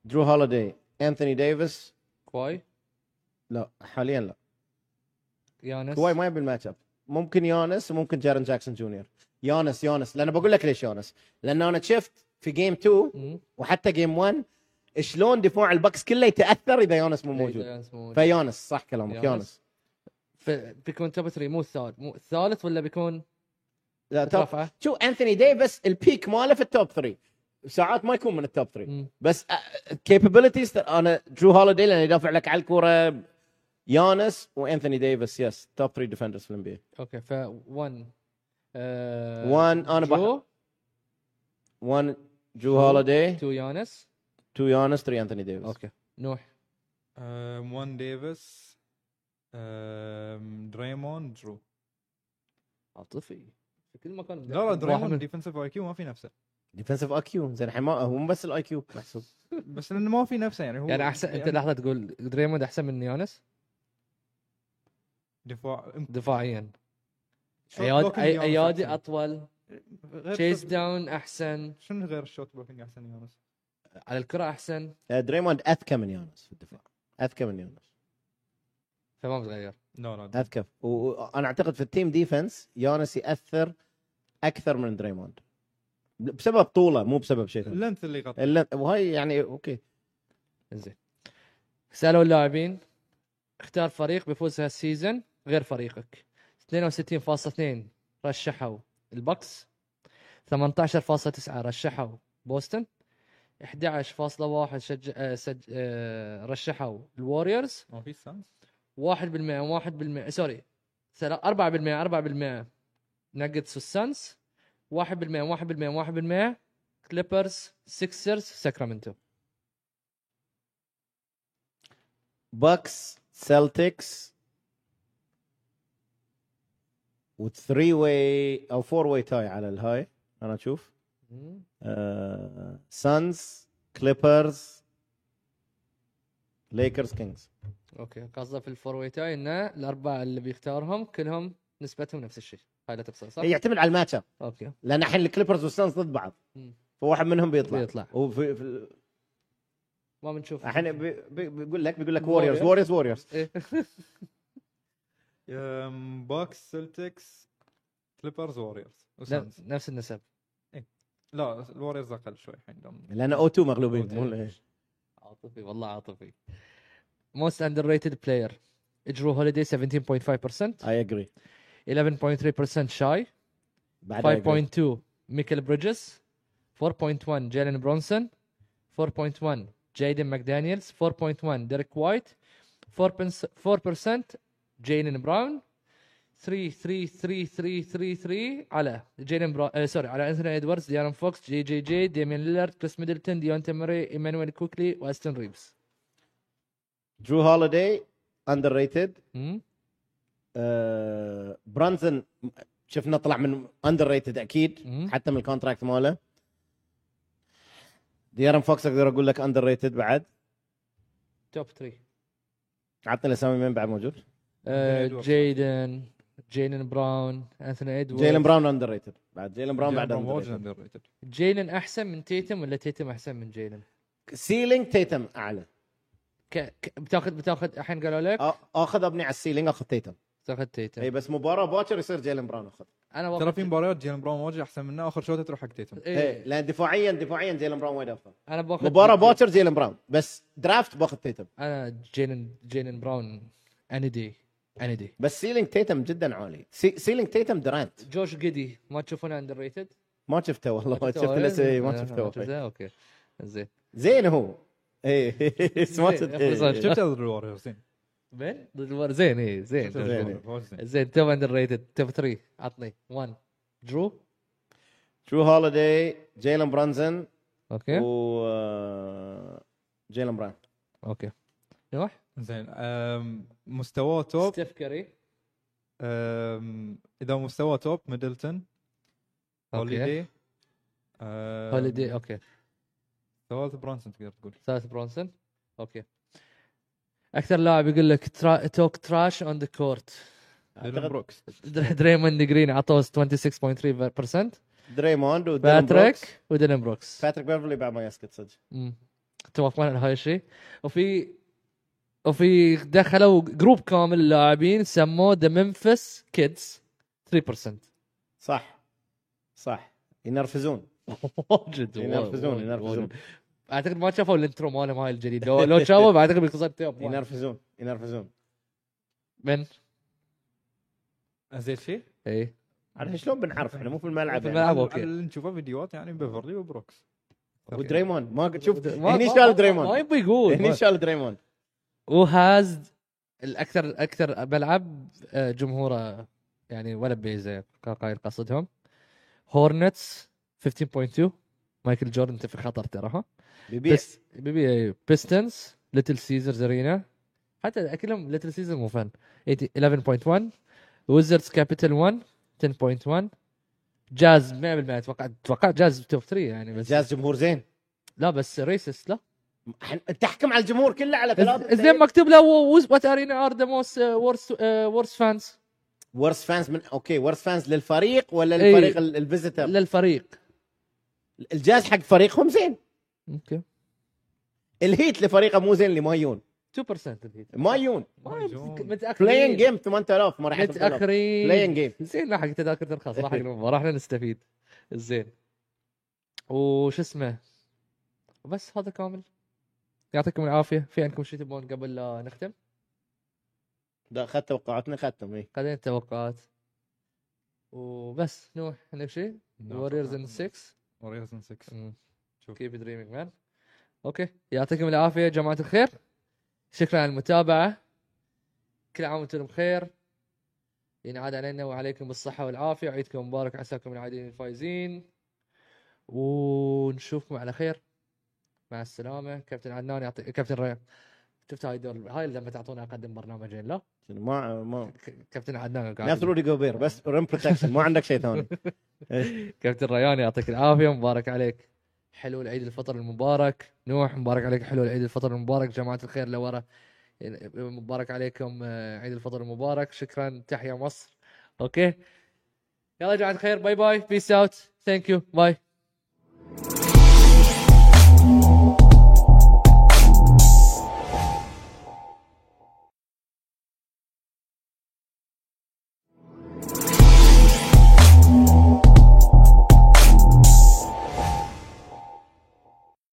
S2: درو هوليدي انثوني ديفيس
S1: كواي
S2: لا حاليا لا
S1: يانس
S2: كواي ما يبي الماتش اب ممكن يونس وممكن جارن جاكسون جونيور يونس يونس لان بقول لك ليش يونس لان انا شفت في جيم 2
S1: مم.
S2: وحتى جيم 1 شلون دفاع البكس كله يتاثر اذا يونس مو موجود
S1: يانس مو موجود.
S2: فيونس صح كلامك
S1: يونس.
S2: يونس
S1: ف- بيكون توب 3 مو الثالث مو الثالث ولا بيكون
S2: لا توب
S1: رفعه؟
S2: شو انثوني ديفيس البيك ماله في التوب 3 ساعات ما يكون من التوب 3
S1: مم.
S2: بس آه، كابابيلتيز انا درو هوليدي لانه يدافع لك على الكوره يانس وانثوني ديفيس يس توب 3 ديفندرز في الام بي
S1: اوكي ف 1
S2: 1 انا بحط
S1: جو
S2: 1 جو هوليداي
S1: تو يانس
S2: 2 يانس 3 انثوني ديفيس
S1: اوكي نوح
S3: أم، وان ديفيس أم، دريمون درو
S1: عاطفي في كل مكان
S3: لا لا
S1: واحد
S3: دريمون
S1: من-
S3: ديفنسيف اي كيو ما في نفسه
S2: ديفنسيف اي كيو زين الحين ما هو مو بس الاي كيو محسوب
S3: بس لانه ما في نفسه يعني هو
S1: يعني احسن انت لحظه تقول دريموند احسن من يانس
S3: دفاع
S1: دفاعيا
S3: شوت
S1: ايادي
S3: بلوكينج
S1: أي-
S3: يونس
S1: ايادي
S3: أحسن.
S1: اطول
S3: غير
S1: تشيس
S3: شوت-
S1: داون احسن
S3: شنو غير الشوت بلوكينج احسن يونس
S1: على الكره احسن
S2: دريموند اذكى Uh، من يونس في الدفاع اذكى من يونس
S1: فما بتغير
S3: لا لا
S2: اذكى وانا اعتقد في التيم ديفنس يونس ياثر اكثر من دريموند بسبب طوله مو بسبب شيء ثاني
S3: اللينث اللي يغطي
S2: الا وهي يعني اوكي
S1: زين سالوا اللاعبين اختار فريق بيفوز هالسيزون غير فريقك 62.2 رشحوا البكس 18.9 رشحوا بوسطن 11.1 شج... آه، سج... آه، رشحوا الوريورز
S3: ما في سانس
S1: 1% 1% سوري سلا- 4% 4% ناجتس والسانس 1% 1% 1% كليبرز سيكسرز ساكرامنتو
S2: باكس سلتكس وثري واي او فور واي تاي على الهاي انا اشوف آه سانز كليبرز ليكرز كينجز
S1: اوكي قصده في الفور واي تاي انه الاربعه اللي بيختارهم كلهم نسبتهم نفس الشيء هاي لا تبصر صح؟
S2: يعتمد على الماتش اب
S1: اوكي
S2: لان الحين الكليبرز والسانز ضد بعض
S1: مم.
S2: فواحد منهم بيطلع
S1: بيطلع.
S2: وفي في
S1: ما بنشوف
S2: الحين بي- بي- بيقول لك بيقول لك
S1: Warriors.
S2: ووريرز ووريرز ووريرز
S1: إيه.
S3: أم، باكس سلتكس كليبرز ووريرز
S1: ن-
S3: وسانز
S1: نفس النسب
S3: لا الوريرز اقل شوي الحين دام-
S2: لان او 2 مغلوبين
S1: أوكي.
S2: مو ال-
S1: عاطفي والله عاطفي موست اندر ريتد بلاير جرو هوليدي 17.5%
S2: اي اجري
S1: 11.3% شاي
S2: بعد I agree.
S1: 5.2 ميكل بريدجز 4.1 جيلين برونسون 4.1 جايدن ماكدانييلز 4.1 ديريك وايت 4% جيلين براون 3 3 3 3 3 3 على جيلين برا... آه سوري على انثوني ادواردز ديارن فوكس جي جي جي ديمين ليلارد كريس ميدلتون ديونتا ماري ايمانويل كوكلي واستن ريفز
S2: درو هوليداي اندر ريتد
S1: مم؟
S2: برانسون Uh, شفنا طلع من اندر ريتد اكيد
S1: مم.
S2: حتى من الكونتراكت ماله ديارن فوكس اقدر اقول لك اندر ريتد بعد
S1: توب 3
S2: عطنا الاسامي من بعد موجود
S1: آه
S3: إدواردز.
S1: جايدن جيلين براون انثوني ادواردز
S2: جيلن براون اندر ريتد بعد جيلن براون
S3: جيلن
S2: بعد
S3: براون
S2: اندر
S3: واجد
S2: ريتد
S3: underrated.
S1: جيلين احسن من تيتم ولا تيتم احسن من جيلين؟
S2: سيلينج تيتم اعلى
S1: ك... ك... بتاخذ بتاخذ الحين قالوا لك
S2: أ- اخذ ابني على السيلينج اخذ تيتم
S1: بتاخذ
S2: اي
S1: تيتم
S2: إيه، بس مباراه باكر يصير جيلن براون اخذ
S1: انا وقت
S3: ترى في مباريات جيلن براون واجد احسن منه اخر شوطه تروح حق تيتم
S2: إيه،
S1: إيه.
S2: لان دفاعيا دفاعيا جيلن براون وايد افضل
S1: انا باخذ
S2: مباراه باكر جيلن براون بس درافت باخذ تيتم
S1: انا جيلين جيلين براون اني دي اني دي
S2: بس سيلينج تيتم جدا عالي سي... سيلينج تيتم درانت
S1: جوش جدي ما تشوفونه اندر ريتد
S2: ما شفته والله ما شفته بس إيه، ما
S1: آه،
S2: شفته
S1: اوكي زين
S2: زين هو ايه سمعت
S1: زين،
S2: إيه.
S1: خلصان.
S3: شفت هذا الوريرز زين
S1: بين ضد الور- زين اي زين
S3: شفت هذا
S2: إيه، زين. إيه.
S3: الوريورز، واجد زين.
S1: زين توب اندر ريتد توب 3 عطني 1 درو
S2: ترو هوليداي جيلن برانزن
S1: اوكي
S2: و آه، جيلن براون
S1: اوكي نروح
S3: زين أم، مستواه توب
S1: ستيف كاري
S3: أم، اذا مستواه توب ميدلتون
S1: اوكي
S3: هوليدي أم،
S1: هوليدي اوكي
S3: ثالث برانسون تقدر تقول
S1: ثالث برونسون اوكي اكثر لاعب يقول لك ترا... توك تراش اون ذا كورت
S3: ديلن بروكس
S1: دريموند جرين عطوه 26.3%
S2: دريموند وديلن بروكس
S1: باتريك وديلن بروكس
S2: باتريك بيرفلي بعد ما يسكت صدق
S1: مم. توافقون على هاي الشيء وفي وفي دخلوا جروب كامل لاعبين سموه ذا ممفيس كيدز 3%
S2: صح صح ينرفزون
S1: واجد
S2: ينرفزون
S1: واجد،
S2: ينرفزون
S1: واجد. اعتقد ما شافوا الانترو مالهم هاي الجديد لو لو شافوا اعتقد بيكون توب
S2: ينرفزون ينرفزون
S1: من
S3: أه،
S1: إيه.
S3: زين شيء
S1: اي
S2: عاد شلون بنعرف احنا مو في الملعب
S1: في
S2: يعني.
S1: الملعب. ألعب،
S3: على-
S1: أوكي.
S3: على اللي نشوفه فيديوهات يعني بيفرلي وبروكس
S2: ودريموند ما قد- شوف
S1: ما-
S2: هني
S1: ما-
S2: شال
S1: ما
S2: دريموند
S1: يبي يقول
S2: هني
S1: ما-
S2: شال دريموند
S1: وهاز الاكثر اكثر ملعب آه، جمهوره يعني ولا بيزه كان قايل قصدهم هورنتس 15.2 مايكل جوردن انت في خطر ترى ها
S2: بيبيع
S1: بس إيه. بيبي بيستنز ليتل سيزرز ارينا حتى كلهم ليتل سيزرز مو فن 11.1 ويزردز كابيتال 1 10.1 جاز 100% اتوقع اتوقع جاز توب 3 يعني بس
S2: جاز جمهور زين
S1: لا بس ريسست لا
S2: إحنا- تحكم على الجمهور كله على
S1: إز-
S2: كلام
S1: زين مكتوب له وات ارينا ار ذا موست ورست ورست فانز
S2: ورس فانز من اوكي ورس فانز للفريق ولا
S1: إيه.
S2: للفريق ال- الفيزيتر
S1: للفريق
S2: الجاز حق فريقهم زين
S1: اوكي
S2: الهيت لفريقه مو زين اللي مايون
S1: 2% الهيت
S2: مايون بلاين
S1: متاخرين
S2: جيم 8000 ما راح يحط طلب.
S1: متاخرين
S2: بلاين جيم
S1: زين لا حق تذاكر ترخص لا حق المباراه احنا نستفيد زين وش اسمه بس هذا كامل يعطيكم العافيه في عندكم شيء تبون قبل لا نختم
S2: ده اخذت توقعاتنا اخذتهم اي
S1: خلينا التوقعات وبس نوح عندك شيء ووريرز ان 6
S3: وريرز ان 6 شوف.
S1: كيب دريمينج مان اوكي يعطيكم العافيه يا جماعه الخير شكرا على المتابعه كل عام وانتم بخير ينعاد علينا وعليكم بالصحه والعافيه عيدكم مبارك عساكم العادين الفايزين ونشوفكم على خير مع السلامه كابتن عدنان يعطي كابتن ريان شفت هاي دور هاي لما تعطونا اقدم برنامجين لا
S2: ما ما
S1: ك- كابتن عدنان قاعد
S2: نفس رودي جوبير بس ريم بروتكشن ما عندك شيء ثاني
S1: كابتن ريان يعطيك العافيه مبارك عليك حلو العيد الفطر المبارك نوح مبارك عليك حلو العيد الفطر المبارك جماعه الخير لورا مبارك عليكم آه، عيد الفطر المبارك شكرا تحيا مصر اوكي يلا يا جماعه الخير باي باي بيس اوت ثانك يو باي